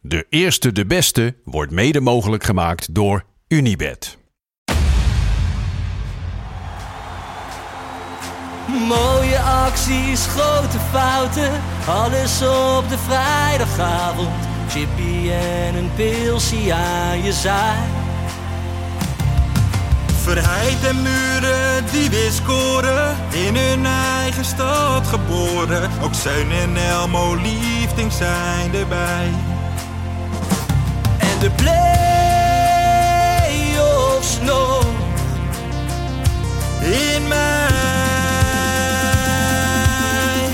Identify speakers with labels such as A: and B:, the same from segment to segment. A: De eerste, de beste wordt mede mogelijk gemaakt door Unibed.
B: Mooie acties, grote fouten, alles op de vrijdagavond. Chippy en een pilsie aan je zaai.
C: Verheid en muren die weer scoren, in hun eigen stad geboren. Ook Zijn en Elmo liefding zijn erbij.
B: En de play-offs nog.
C: In mij.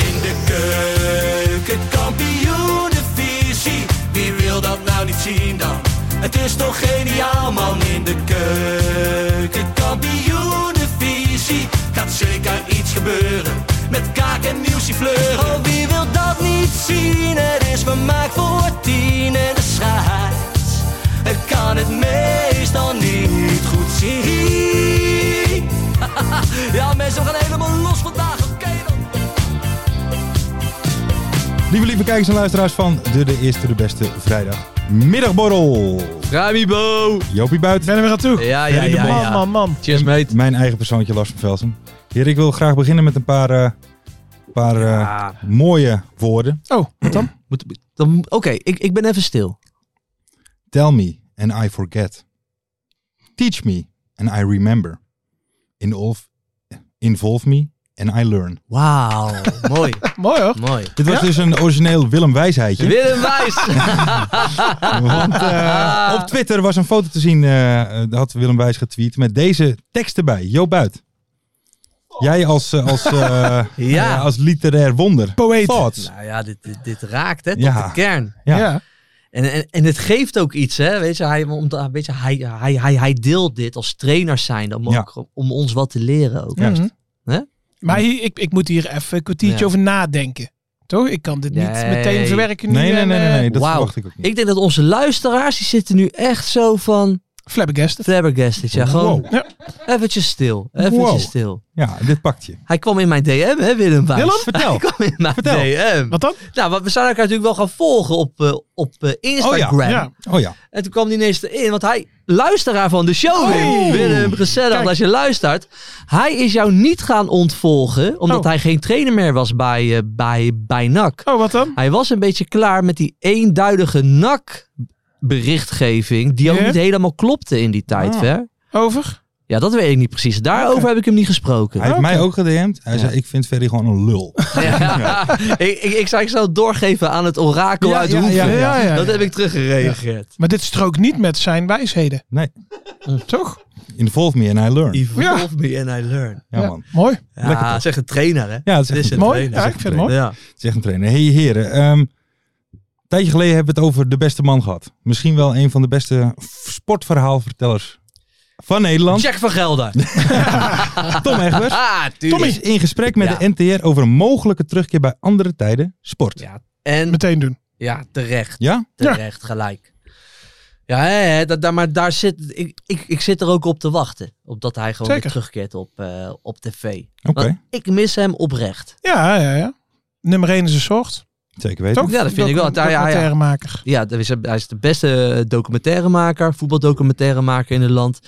B: In de keuken, kampioenenvisie. Wie wil dat nou niet zien dan? Het is toch geniaal man in de keuken, kampioenenvisie. Gaat zeker iets gebeuren met kaak en nieuwsie fleuren. Oh, wie wil dat niet zien? Het is vermaakt voor tien en de scheids. Ik kan het meestal niet goed zien. ja mensen, we gaan helemaal los vandaag, oké dan.
D: Lieve, lieve kijkers en luisteraars van de De Eerste De Beste Vrijdagmiddagborrel.
E: Ramibo!
D: Jopie Buiten. Ben er weer aan toe.
E: Ja, ja, ja. ja.
F: Man, man, man.
E: Cheers, mate.
D: Mijn eigen persoontje Lars van Velsen. Heer, ik wil graag beginnen met een paar, eh, paar eh, mooie woorden.
F: Oh, wat dan? Moet- dan Oké, ik, ik ben even stil.
D: Tell me and I forget. Teach me and I remember. Involve, involve me and I learn.
F: Wauw, mooi,
E: Mooi hoor.
F: mooi.
D: Dit was dus een origineel Willem Wijsheidje.
E: Willem Wijs.
D: Want eh, op Twitter was een foto te zien, eh, eh, had Willem Wijs getweet, met deze tekst erbij. Jo Buit. Jij als, eh, als, eh, eh, als literair wonder. Poëet. Thoughts.
F: Nou ja, dit, dit, dit raakt hè, tot
D: Ja.
F: de kern.
D: Ja.
F: En, en, en het geeft ook iets, hè. Weet je, hij, om te- weet je, hij, hij, hij, hij deelt dit als trainers zijn om,
D: Ja.
F: ook, om ons wat te leren ook.
D: Juist.
F: Hè?
E: Maar hier- ik, ik moet hier even een kwartiertje
F: Ja.
E: over nadenken. Toch? Ik kan dit niet
F: Nee.
E: meteen verwerken nu.
D: Nee, nee,
E: en,
D: nee, nee, nee,
E: eh,
D: dat
F: wauw.
D: verwacht ik ook niet.
F: Ik denk dat onze luisteraars, die zitten nu echt zo van
E: flabbergasted.
F: flabbergasted. Ja, gewoon
D: Wow.
E: Ja.
F: eventjes stil, eventjes
D: Wow.
F: stil.
D: Ja, dit pakt je.
F: Hij kwam in mijn DM, hè, Willem Wijs.
D: Willem, vertel.
F: Hij kwam in mijn
D: Vertel.
F: DM.
E: Wat dan?
F: Nou, want we zouden elkaar natuurlijk wel gaan volgen op, eh, op eh, Instagram.
D: Oh
E: Ja.
D: Oh ja.
F: En toen kwam hij ineens in, want hij, luisteraar van de show, Willem, Willem, gezellig
E: Oh. Kijk.
F: als je luistert. Hij is jou niet gaan ontvolgen, omdat
E: Oh.
F: hij geen trainer meer was bij, eh, bij, bij NAC.
E: Oh, wat dan?
F: Hij was een beetje klaar met die eenduidige NAC berichtgeving, die ook
E: Ja?
F: niet helemaal klopte in die tijd,
D: Ah.
F: ver.
E: Over?
F: Ja, dat weet ik niet precies. Daarover heb ik hem niet gesproken.
D: Hij heeft
E: Oké.
D: mij ook gedM'd. Hij zei, ik vind Ferry gewoon een lul.
F: Ja. ik, ik, ik zou ik zou het doorgeven aan het orakel
D: Ja,
F: uit
D: ja,
F: Hoeven.
D: ja,
E: ja, ja,
F: dat
E: ja.
F: heb ik teruggereageerd.
E: Maar dit strookt niet met zijn wijsheden.
D: Nee.
F: Hm.
E: Toch?
D: Involve me and I learn.
F: Evolve
E: Ja.
F: me and I learn.
D: Ja, man.
E: Mooi.
D: Lekker
F: Ja, zeg een trainer hè.
D: Ja, dat is
F: Dit
D: echt
F: is
D: een-
F: het.
E: Mooi.
F: trainer,
E: Ja,
D: zeg
E: ik
D: ik
E: vind het
D: erbij.
E: mooi.
F: Ja.
D: dat is echt een trainer. Hey heren, ehm, een tijdje geleden hebben we het over de beste man gehad. Misschien wel een van de beste sportverhaalvertellers van Nederland.
F: Jack van Gelder.
D: Tom Egbers.
F: Ah, tuurlijk.
D: Tommy is in gesprek met
F: Ja.
D: de NTR over een mogelijke terugkeer bij andere tijden sport. Ja?
F: Ja, en
E: Meteen doen.
F: ja, terecht.
D: Ja,
F: Terecht, gelijk. Ja, hè, hè, dat, daar, maar daar zit, ik, ik, ik zit er ook op te wachten. Opdat hij gewoon
E: Zeker.
F: weer terugkeert op, eh, op tv.
D: Oké.
F: Want ik mis hem oprecht.
E: Ja, ja, ja. Nummer 1 is een soort.
D: zeker weten.
E: Toch?
F: Ja, dat vind ik wel.
E: Docu-
F: Ja, ja, ja.
E: documentairemaker.
F: Ja, dat is- hij is de beste eh, documentairemaker, voetbaldocumentairenmaker in het land.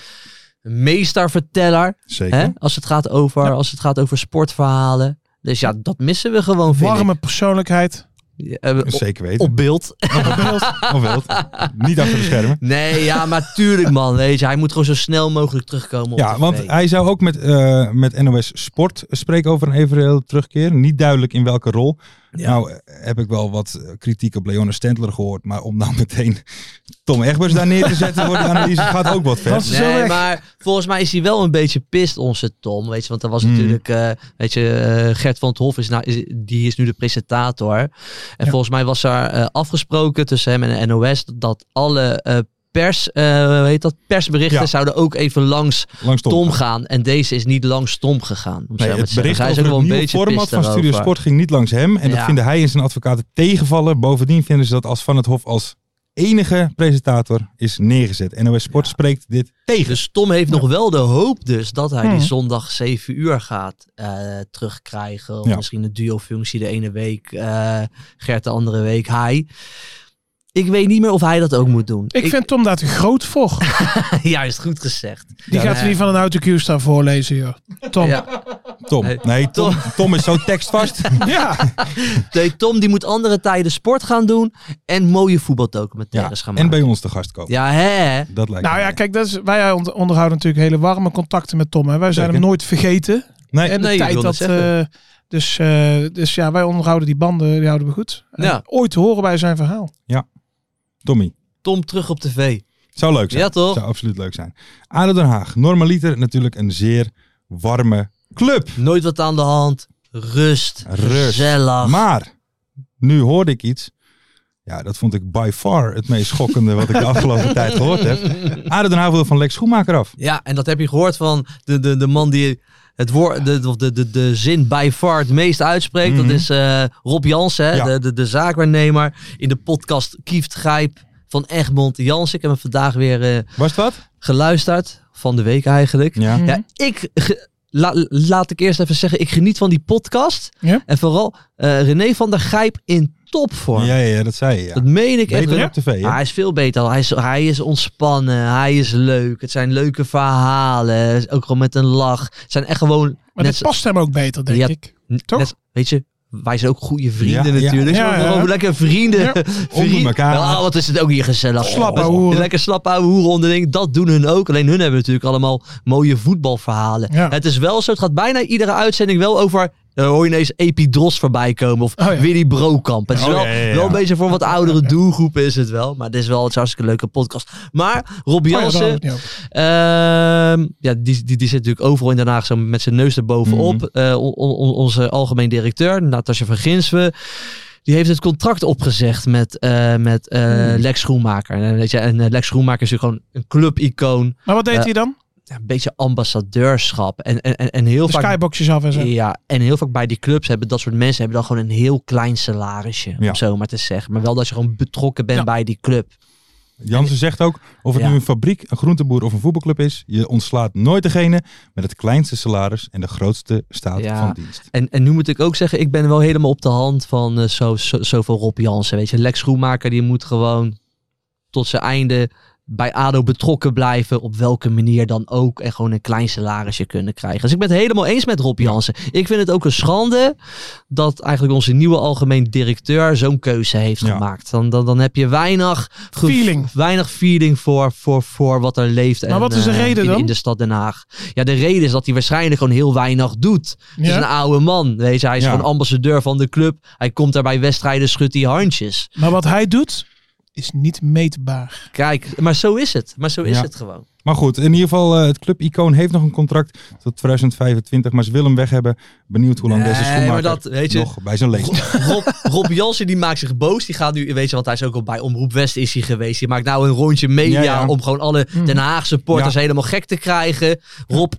F: Meesterverteller,
D: Zeker.
F: hè, als, het gaat over, als het gaat over sportverhalen. Dus ja, dat missen we gewoon, vind ik.
E: Warme persoonlijkheid.
F: Ja, eh, op-
D: Zeker weten.
F: op beeld.
D: Of wel. Niet achter de schermen.
F: Nee, ja, maar tuurlijk man, weet je. Hij moet gewoon zo snel mogelijk terugkomen op
D: Ja,
F: tv.
D: want hij zou ook met, eh, met NOS Sport spreken over een eventueel terugkeer. Niet duidelijk in welke rol. Nou eh, heb ik wel wat eh, kritiek op Leone Stendler gehoord. Maar om dan meteen Tom Egbers daar neer te zetten voor die analyse gaat ook wat ver.
E: Was- Zo
F: Nee,
E: weg.
F: maar volgens mij is hij wel een beetje pist, onze Tom. Weet je, want er was
D: Hmm.
F: natuurlijk, eh, weet je, eh, Gert van het Hof is, nou, is, die is nu de presentator. En volgens mij was er eh, afgesproken tussen hem en de NOS dat alle eh, pers, eh, hoe heet dat, persberichten
D: Ja.
F: zouden ook even langs
D: Langs Tom.
F: Tom, gaan. En deze is niet langs Tom gegaan. Om
D: Nee,
F: zo maar te
D: het
F: zeggen.
D: bericht
F: Zij
D: over het nieuwe format
F: pist
D: van Studio
F: daarover.
D: Sport ging niet langs hem. En dat
F: Ja.
D: vinden hij en zijn advocaten tegenvallen. Bovendien vinden ze dat als Van het Hof als enige presentator is neergezet. NOS Sport spreekt dit tegen.
F: Dus Tom heeft nog wel de hoop dus dat hij
E: Hmm.
F: die zondag 7 uur gaat eh, terugkrijgen. Of
D: Ja.
F: misschien de duo-functie de ene week, eh, Gert de andere week, hij. Ik weet niet meer of hij dat ook moet doen.
E: Ik, vind Tom daar te groot voor.
F: Juist goed gezegd.
E: Die gaat er niet van een auto Q staan voorlezen, joh. Tom. Ja.
F: Ja.
D: Tom.
F: Nee.
D: Nee, Tom, Tom is zo tekstvast.
F: Nee, Tom die moet andere tijden sport gaan doen en mooie voetbaldocumentaires gaan
D: En
F: maken.
D: bij ons te gast komen.
F: Ja, hè?
D: Dat lijkt
E: Nou
D: me.
E: ja, kijk, dat is, wij ont- onderhouden natuurlijk hele warme contacten met Tom. Hè. Wij zijn
D: Zeker.
E: hem nooit vergeten.
D: Nee,
E: En de
F: Nee, ik
E: tijd
F: wil
E: dat...
F: net zeggen.
E: eh, dus, eh, dus ja, wij onderhouden die banden, die houden we goed. En
F: Ja.
E: Ooit horen wij zijn verhaal.
D: Tommy.
F: Tom terug op tv.
D: Zou leuk zijn.
F: Ja, toch?
D: Zou absoluut leuk zijn. ADO Den Haag. Normaliter natuurlijk een zeer warme club.
F: Nooit wat aan de hand. Rust.
D: Rust.
F: Gezellig.
D: Maar nu hoorde ik iets. Ja, dat vond ik by far het meest schokkende wat ik de afgelopen tijd gehoord heb. ADO Den Haag wil van Lex Schoenmaker af.
F: Ja, en dat heb je gehoord van de, de, de man die het woord, de, of de, de, de zin by far het meest uitspreekt.
D: Mhm.
F: Dat is eh, Rob Jansen, hè,
D: Ja.
F: de, de, de zaakwaarnemer in de podcast Kieft Gijp van Egmond Jansen. Ik heb hem vandaag weer eh,
D: Was het wat?
F: geluisterd, van de week eigenlijk.
D: Ja.
E: Mhm.
F: Ja, ik... ge- la- laat ik eerst even zeggen, ik geniet van die podcast.
E: Ja.
F: En vooral eh, René van der Gijp in topvorm.
D: Ja, ja, dat zei je. Ja.
F: Dat meen ik echt.
D: Beter op tv.
F: Ah,
D: Hè?
F: hij is veel beter. al. Hij is, hij is ontspannen. Hij is leuk. Het zijn leuke verhalen. Ook gewoon met een lach. Het zijn echt gewoon.
E: Maar
F: net
E: dat past hem ook beter, denk
F: Ja.
E: ik.
F: zo-
E: toch?
F: net- weet je, wij zijn ook goede vrienden
D: Ja, ja.
F: natuurlijk.
E: Ja,
F: Zo,
E: ja.
F: Gewoon lekker vrienden.
E: Ja,
D: onder elkaar.
F: Ah, wat is het ook hier gezellig.
E: Slappe
F: Oh,
E: hoeren.
F: Lekker slappe ouwe hoeren onderling. Dat doen hun ook. Alleen hun hebben natuurlijk allemaal mooie voetbalverhalen.
E: Ja.
F: Het is wel zo. Het gaat bijna iedere uitzending wel over. eh, hoor je ineens Epidros voorbij komen of
E: Oh, ja.
F: Willy Brokamp. Het is
D: Oh,
F: wel,
D: ja, ja, ja.
F: wel een beetje voor wat oudere doelgroepen is het wel. Maar het is wel het is een hartstikke leuke podcast. Maar Rob
E: Oh ja, daar
F: Jansen,
E: hadden we het niet over.
F: Ehm, ja, die, die, die zit natuurlijk overal in Den Haag zo met zijn neus erbovenop.
E: Mhm.
F: Eh, on- on- onze algemeen directeur, Natasja van Ginswe. Die heeft het contract opgezegd met, eh, met eh,
E: Mhm.
F: Lex Schoenmaker. En, weet je, en eh, Lex Schoenmaker is natuurlijk gewoon een clubicoon.
E: Maar wat deed
F: Ja.
E: hij dan?
F: Ja, Een beetje ambassadeurschap. En, en, en- en heel
E: De
F: vaak...
E: skyboxjes af en zo.
F: Ja, en heel vaak bij die clubs hebben dat soort mensen hebben dan gewoon een heel klein salarisje,
D: Ja.
F: om zo maar te zeggen. Maar wel dat je gewoon betrokken bent
E: Ja.
F: bij die club.
D: Jansen zegt ook, of het
F: Ja.
D: nu een fabriek, een groenteboer of een voetbalclub is, je ontslaat nooit degene met het kleinste salaris en de grootste staat
F: Ja.
D: van dienst.
F: En, en nu moet ik ook zeggen, ik ben wel helemaal op de hand van eh, zo, zo, zoveel Rob Jansen. Weet je, Lex Schoenmaker die moet gewoon tot zijn einde bij ADO betrokken blijven. Op welke manier dan ook. En gewoon een klein salarisje kunnen krijgen. Dus ik ben het helemaal eens met Rob Jansen. Ik vind het ook een schande dat eigenlijk onze nieuwe algemeen directeur zo'n keuze heeft
D: Ja.
F: gemaakt. Dan, dan, dan heb je weinig gev-
E: Feeling.
F: Weinig feeling voor, voor, voor wat er leeft.
E: Maar
F: en,
E: wat is de
F: eh,
E: reden
F: in,
E: dan?
F: In de stad Den Haag. Ja, de reden is dat hij waarschijnlijk gewoon heel weinig doet. Het
E: Ja.
F: is een oude man. Weet je. Hij is
D: Ja.
F: gewoon ambassadeur van de club. Hij komt daar bij wedstrijden, schudt die handjes.
E: Maar wat hij doet, is niet meetbaar.
F: Kijk, maar zo is het. Maar zo is
D: Ja.
F: het gewoon.
D: Maar goed, in ieder geval, eh, het clubicoon heeft nog een contract tot 2025, maar ze willen hem weg hebben. Benieuwd hoe lang
F: Nee,
D: deze
F: maar
D: schoenmaker
F: dat, weet je-
D: nog bij zijn leeftijd.
F: Rob, Rob Jansen die maakt zich boos. Die gaat nu, weet je, want hij is ook al bij Omroep West is hij geweest. Die maakt nou een rondje media
D: Ja, ja.
F: om gewoon alle Den Haag supporters
D: Ja.
F: helemaal gek te krijgen. Rob,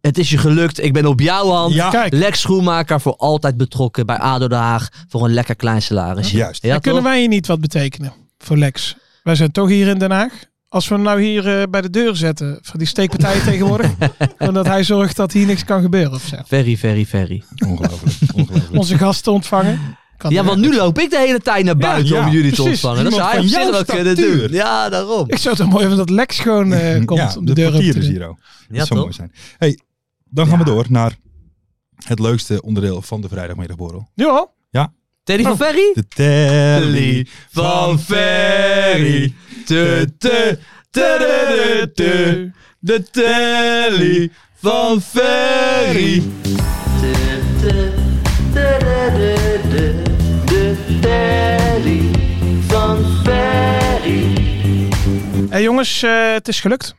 F: het is je gelukt. Ik ben op jouw hand.
D: Ja.
E: Kijk,
F: Lex Schoenmaker voor altijd betrokken bij ADO Den Haag voor een lekker klein salaris.
D: Juist.
F: Ja,
E: dan kunnen
F: toch?
E: wij hier niet wat betekenen voor Lex. Wij zijn toch hier in Den Haag. Als we hem nou hier eh, bij de deur zetten van die steekpartijen tegenwoordig. Omdat hij zorgt dat hier niks kan gebeuren of zo.
F: Very, very, very.
D: Ongelooflijk. ongelooflijk.
E: Onze gasten ontvangen. Kan
F: Ja,
E: niet.
F: want nu loop ik de hele tijd naar buiten
D: ja,
F: om jullie
D: precies.
F: te ontvangen. Dat zou
D: Iemand
F: hij op
D: van
F: zich
D: jouw
F: wel kunnen
D: statuur.
F: doen. Ja, daarom.
E: Ik zou het wel mooi vinden dat Lex gewoon eh, komt
D: ja,
E: om de, deur open
D: portier
E: te
D: is
E: doen.
D: hier ook. Dat
F: Ja,
D: zou mooi
F: toch?
D: zijn. hey, dan gaan we door naar het leukste onderdeel van de vrijdagmiddagborrel.
E: Nu al?
F: Teddy van Ferry?
D: De telly van Ferry.
F: Te, te, te, te, te, te. De telly van Ferry. Te, te, te, te, te, te.
E: hey, jongens, eh, het is gelukt.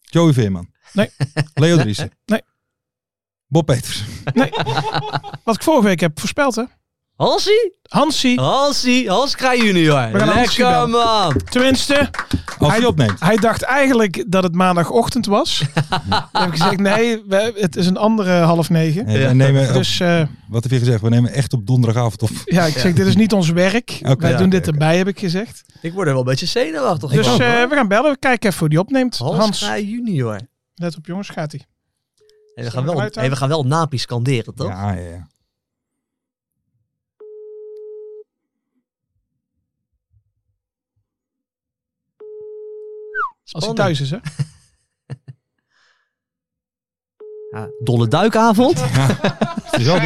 D: Joey Veerman.
E: Nee.
D: Leo Driessen.
E: Nee.
D: Bob Peters.
E: Wat ik vorige week heb voorspeld, hè.
F: Hansie?
E: Hansi,
F: Oh. Hansie, Hans Kraaij junior.
E: We gaan Hansie
F: Lekker
E: bellen.
F: man.
E: tenminste,
D: Als hij
E: Hij-
D: het opneemt.
E: hij dacht eigenlijk dat het maandagochtend was. Toen heb ik gezegd, nee, we- het is een andere half negen.
D: En we nemen,
E: Dus eh,
D: Wat heb je gezegd? We nemen echt op donderdagavond op.
E: ja, ik zeg, dit is niet ons werk.
D: Oké,
E: Wij
D: ja,
E: doen
D: oké,
E: dit erbij, heb ik gezegd.
F: Ik word er wel een beetje zenuwachtig
E: Dus
F: van,
E: eh,
F: hoor.
E: we gaan bellen. We kijken even hoe die opneemt. Hans,
F: Hans Kraaij junior.
E: let op jongens, gaat hij.
F: Hey, we,
E: Zullen
F: gaan
E: we
F: wel,
E: eruit
F: hey, we gaan wel Napi scanderen, toch?
D: Ja, ja, ja.
E: Als hij
F: Spannend.
E: thuis is, hè.
F: Ja, dolle duikavond.
D: Het is wel-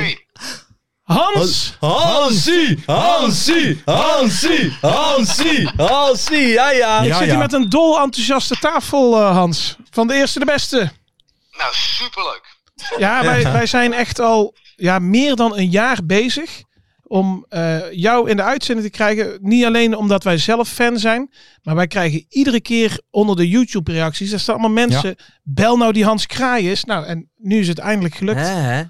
E: Hans!
F: Hansie! Hansie! Hansie! Hansie! Hansie! Ja, ja.
E: Ik
D: Ja,
E: zit
D: ja.
E: hier met een dol enthousiaste tafel, eh, Hans. Van de eerste de beste.
G: Nou, superleuk.
E: Ja, wij, wij zijn echt al ja, meer dan een jaar bezig om eh, jou in de uitzending te krijgen. Niet alleen omdat wij zelf fan zijn, maar wij krijgen iedere keer onder de YouTube-reacties. Er staan allemaal mensen, bel nou die Hans Kraai is. Nou, en nu is het eindelijk gelukt.
F: Hè, hè?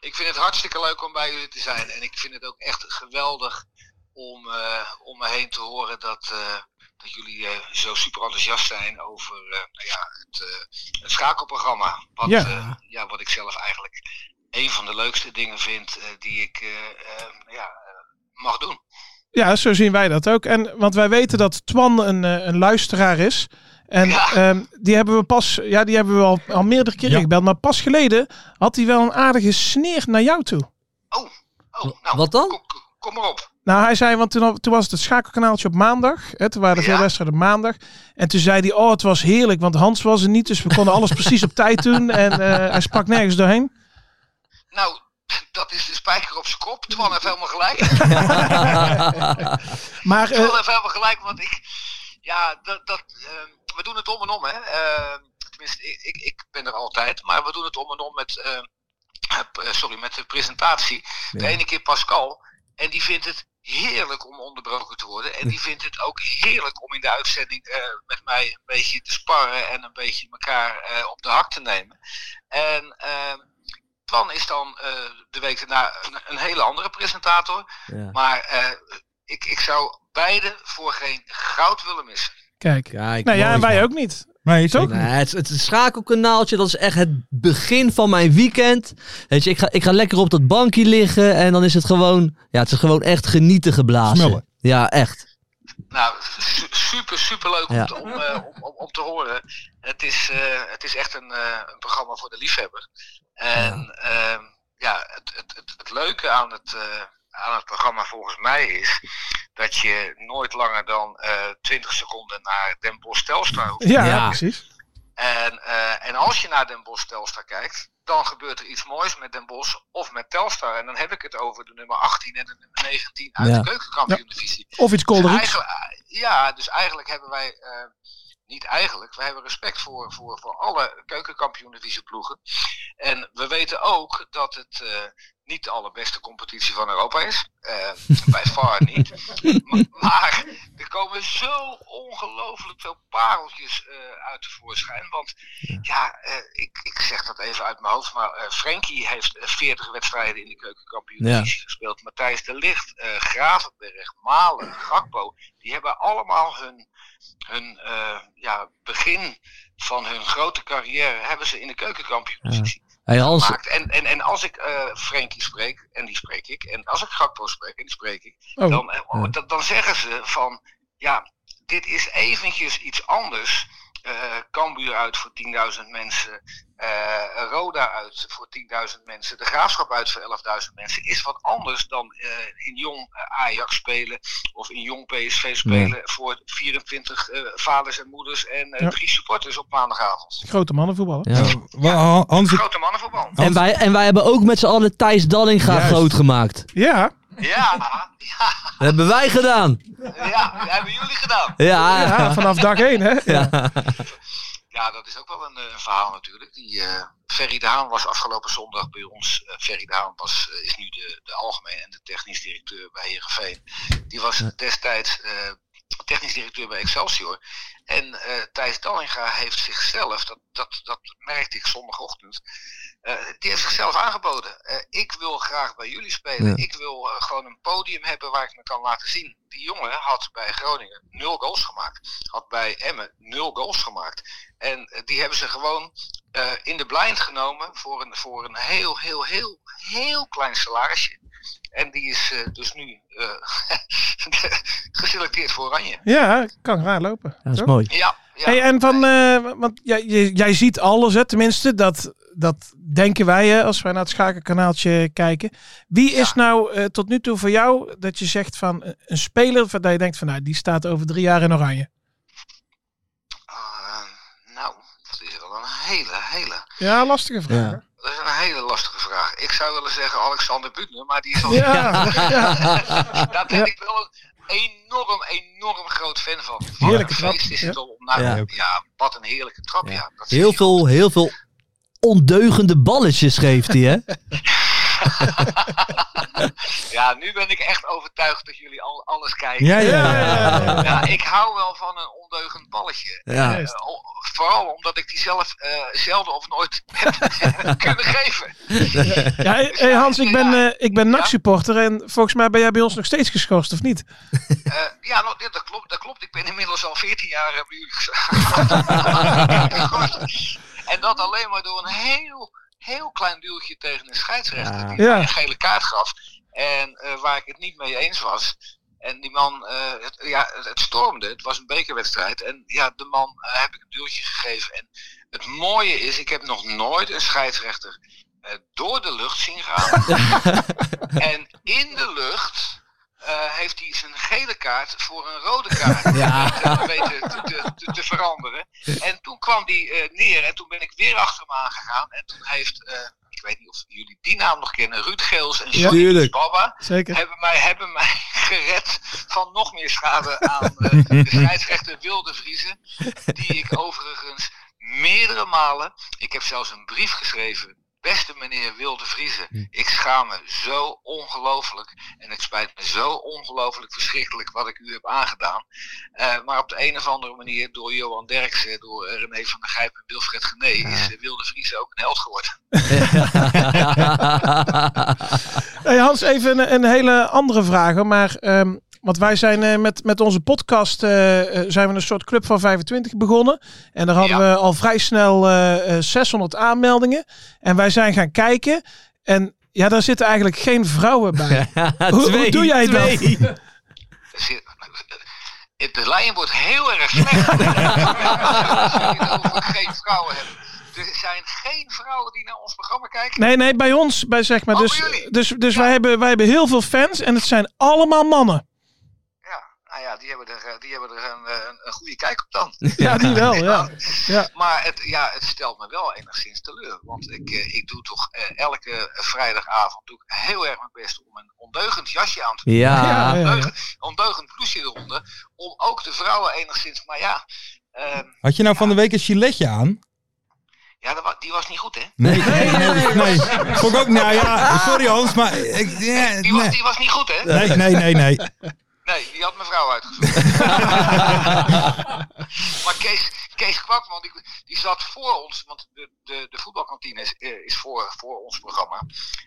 G: Ik vind het hartstikke leuk om bij jullie te zijn. En ik vind het ook echt geweldig om, eh, om me heen te horen dat, eh, dat jullie eh, zo super enthousiast zijn over eh, nou ja, het, eh, het schakelprogramma. Wat,
E: Ja.
G: ja. ja, wat ik zelf eigenlijk een van de leukste dingen vind eh, die ik eh, eh, ja, eh, mag doen.
E: Ja, zo zien wij dat ook. En, want wij weten dat Twan een, eh, een luisteraar is. En
G: Ja.
E: ehm, die hebben we pas, ja, die hebben we al, al meerdere keren
D: Ja.
E: gebeld. Maar pas geleden had hij wel een aardige sneer naar jou toe.
G: Oh,
F: Wa-
G: oh nou,
F: wat dan?
G: Kom, kom- kom maar op.
E: Nou, hij zei, want toen, al- toen was het het schakelkanaaltje op maandag. Hè, toen waren er veel
G: Ja.
E: wedstrijden op maandag. En toen zei hij, oh, het was heerlijk, want Hans was er niet. Dus we konden alles precies op tijd doen. En eh, hij sprak nergens doorheen.
G: Nou, dat is de spijker op zijn kop. Twan heeft helemaal gelijk.
E: Maar
G: Ik
E: eh,
G: wil even helemaal gelijk, want ik. Ja, dat, dat, ehm, we doen het om en om, hè. Ehm, tenminste, ik, ik, ik ben er altijd, maar we doen het om en om met. ehm, eh, p- eh, sorry, met de presentatie. De ene keer Pascal. En die vindt het heerlijk om onderbroken te worden. En die vindt het ook heerlijk om in de uitzending eh, met mij een beetje te sparren en een beetje elkaar eh, op de hak te nemen. En ehm Twan is dan eh, de week daarna een, een hele andere presentator.
F: Ja.
G: Maar eh, ik, ik zou beide voor geen goud willen missen.
E: kijk,
F: Kijk,
E: nou ja,
F: mooi,
E: en wij
F: man.
E: ook niet.
D: Nee,
E: Toch?
D: zeker
F: Nee,
D: niet.
F: het, het schakelkanaaltje, dat is echt het begin van mijn weekend. Weet je, ik ga, ik ga lekker op dat bankje liggen en dan is het gewoon, ja, het is gewoon echt genieten geblazen.
D: Smullen.
F: Ja, echt.
G: Nou, su- super, super leuk om,
F: Ja.
G: te, om, eh, om, om, om te horen. Het is, eh, het is echt een, eh, een programma voor de liefhebber. En ja, ja het, het, het, het leuke aan het, eh, aan het programma volgens mij is dat je nooit langer dan eh 20 seconden naar Den Bosch Telstra hoeft.
E: Ja,
F: Ja.
E: precies.
G: En, eh, en als je naar Den Bosch Telstar kijkt, dan gebeurt er iets moois met Den Bosch of met Telstar. En dan heb ik het over de nummer 18 en de nummer 19 uit
F: Ja.
G: de keukenkampioen-divisie.
E: Of iets
G: Dus
E: kolderieks.
G: eigenlijk- ja, dus eigenlijk hebben wij, eh, niet eigenlijk, wij hebben respect voor, voor, voor alle keukenkampioen-divisie ploegen. En we weten ook dat het eh, niet de allerbeste competitie van Europa is. Eh, bij far niet. Maar, maar er komen zo ongelooflijk veel pareltjes eh, uit te voorschijn. Want ja, eh, ik, ik zeg dat even uit mijn hoofd, maar eh Frenkie heeft eh, 40 wedstrijden in de keukenkampioen-divisie gespeeld. Matthijs de Ligt, eh, Gravenberg, Malen, Gakpo, die hebben allemaal hun, hun eh, ja, begin van hun grote carrière hebben ze in de keukenkampioen-divisie
F: Hey Hans,
G: maakt. En, en, en als ik eh Frenkie spreek, en die spreek ik, en als ik Gakpo spreek, en die spreek ik,
E: Oh.
G: dan, eh, oh, dat- dan zeggen ze van, ja, dit is eventjes iets anders. Eh, Cambuur uit voor 10.000 mensen, eh, Roda uit voor 10.000 mensen, De Graafschap uit voor 11.000 mensen, is wat anders dan eh, in jong eh, Ajax spelen of in jong PSV spelen voor 24 eh, vaders en moeders en eh,
E: Ja.
G: drie supporters op maandagavond.
E: Grote mannenvoetballen.
F: Ja.
D: Eh, wa- Hans, ik-
G: Grote mannenvoetbal.
F: en wij, en wij hebben ook met z'n allen Thijs Dallinga
D: Juist.
F: groot gemaakt.
E: Ja,
G: Ja,
F: Dat hebben wij gedaan.
G: Ja, dat hebben jullie gedaan.
F: Ja,
E: ja, vanaf dag één, hè?
G: Ja, dat is ook wel een, eh, een verhaal natuurlijk. Die, eh Ferry de Haan was afgelopen zondag bij ons. eh, Ferry de Haan was, eh, is nu de, de algemeen en de technisch directeur bij Heerenveen. Die was destijds, eh, technisch directeur bij Excelsior. En eh, Thijs Dallinga heeft zichzelf, dat, dat, dat merkte ik zondagochtend, eh, die heeft zichzelf aangeboden. Eh, ik wil graag bij jullie spelen. Ik wil eh, gewoon een podium hebben waar ik me kan laten zien. Die jongen had bij Groningen nul goals gemaakt. Had bij Emmen nul goals gemaakt. En eh, die hebben ze gewoon eh, in de blind genomen voor een, voor een heel, heel, heel, heel klein salarisje. En die is eh, dus nu eh, geselecteerd voor Oranje.
E: Ja, kan raar lopen.
F: dat is
E: toch?
F: mooi.
G: Ja, ja.
E: Hey, en van, eh, want jij, jij- jij ziet alles, hè, tenminste, dat, dat denken wij hè, als wij naar het schakelkanaaltje kijken. Wie is nou eh, tot nu toe voor jou dat je zegt van eh, een speler van, dat je denkt van nou, die staat over drie jaar in oranje?
G: Ah, nou, dat is wel een hele, hele.
E: Ja, lastige vraag. hè?
G: Dat is een hele lastige vraag. Ik zou willen zeggen Alexander Butner, maar die is al.
E: Ja,
G: Daar ben ik wel een enorm, enorm groot fan van. Wat
E: Heerlijke
G: een
E: trap,
G: feest is
E: ja.
G: het om naar
F: Ja.
G: ja. wat een heerlijke trap. Ja. Dat zie
F: Heel
G: je.
F: veel, heel veel ondeugende balletjes geeft hij, hè?
G: Ja, nu ben ik echt overtuigd dat jullie al, alles kijken.
D: Ja, ja,
E: ja, ja, ja.
G: Ja, ik hou wel van een ondeugend balletje.
F: Ja.
G: Eh, o- vooral omdat ik die zelf eh, zelden of nooit heb kunnen geven.
E: Ja, hey, hey, Hans, ik ben, eh, ik ben NAC-supporter en volgens mij ben jij bij ons nog steeds geschorst, of niet?
G: Eh, ja, nou, dit- dat, klopt, dat klopt. Ik ben inmiddels al 14 jaar eh, bij jullie gezorgd. En dat alleen maar door een heel, heel klein duwtje tegen een scheidsrechter. Die
E: Ja.
G: mij een gele kaart gaf. En eh, waar ik het niet mee eens was. En die man, eh, het, ja, het, het stormde. Het was een bekerwedstrijd. En ja, de man eh, heb ik een duwtje gegeven. En het mooie is, ik heb nog nooit een scheidsrechter eh, door de lucht zien gaan. en in de lucht eh, heeft hij zijn gele kaart voor een rode kaart eh, weten te, te, te, te veranderen. En toen kwam die eh, neer en toen ben ik weer achter hem aangegaan. En toen heeft, eh, ik weet niet of jullie die naam nog kennen, Ruud Geels en Johnny
F: tuurlijk.
G: Baba
E: Zeker.
G: hebben mij, hebben mij gered van nog meer schade aan eh, de scheidsrechter Wilde Vriezen. Die ik overigens meerdere malen, ik heb zelfs een brief geschreven. Beste meneer Wilde Vriezen, ik schaam me zo ongelooflijk. En het spijt me zo ongelooflijk verschrikkelijk wat ik u heb aangedaan. Eh, maar op de een of andere manier, door Johan Derksen, door eh, René van der Gijp en Wilfred Gené, is eh, Wilde Vriezen ook een held geworden.
E: Hey, Hans, even een, een hele andere vraag, hoor, maar... ehm, want wij zijn eh, met, met onze podcast eh, eh, zijn we een soort club van 25 begonnen. En daar hadden
G: Ja.
E: we al vrij snel eh, eh, 600 aanmeldingen. En wij zijn gaan kijken. En ja, daar zitten eigenlijk geen vrouwen bij. hoe
F: Twee,
E: doe jij dat?
F: twee.
G: Zie- Dus De lijn wordt heel erg slecht. Als jullie het over geen vrouwen hebben. Er zijn geen vrouwen die naar ons programma kijken.
E: Nee, nee, bij ons, bij zeg maar.
G: Oh,
E: Dus,
G: bij jullie?
E: dus, dus wij, hebben, wij hebben heel veel fans en het zijn allemaal mannen.
G: Ja, nou ja, die hebben er, eh, die hebben er een, eh, een, een goede kijk op dan.
E: Ja, die wel, ja. Ja.
G: Maar het, ja, het stelt me wel enigszins teleur. Want ik, eh, ik doe toch eh, elke vrijdagavond doe ik heel erg mijn best om een ondeugend jasje aan te doen.
E: Ja,
F: Ja.
E: ja, ja.
G: Ondeugend, ondeugend bloesje eronder. Om ook de vrouwen enigszins. Maar ja, ehm,
D: Had je nou van de week een giletje aan?
G: ja dat wa- die was niet goed hè.
D: Nee, nee, nee. Vond ik ook, nou ja, sorry Hans, maar ik, ja,
G: Die was,
D: nee.
G: die was niet goed hè.
D: Nee, nee, nee, nee.
G: Nee, die had mijn vrouw uitgezocht. maar Kees, Kees Kwakman, die, die zat voor ons, want de, de, de voetbalkantine is, eh, is voor, voor ons programma.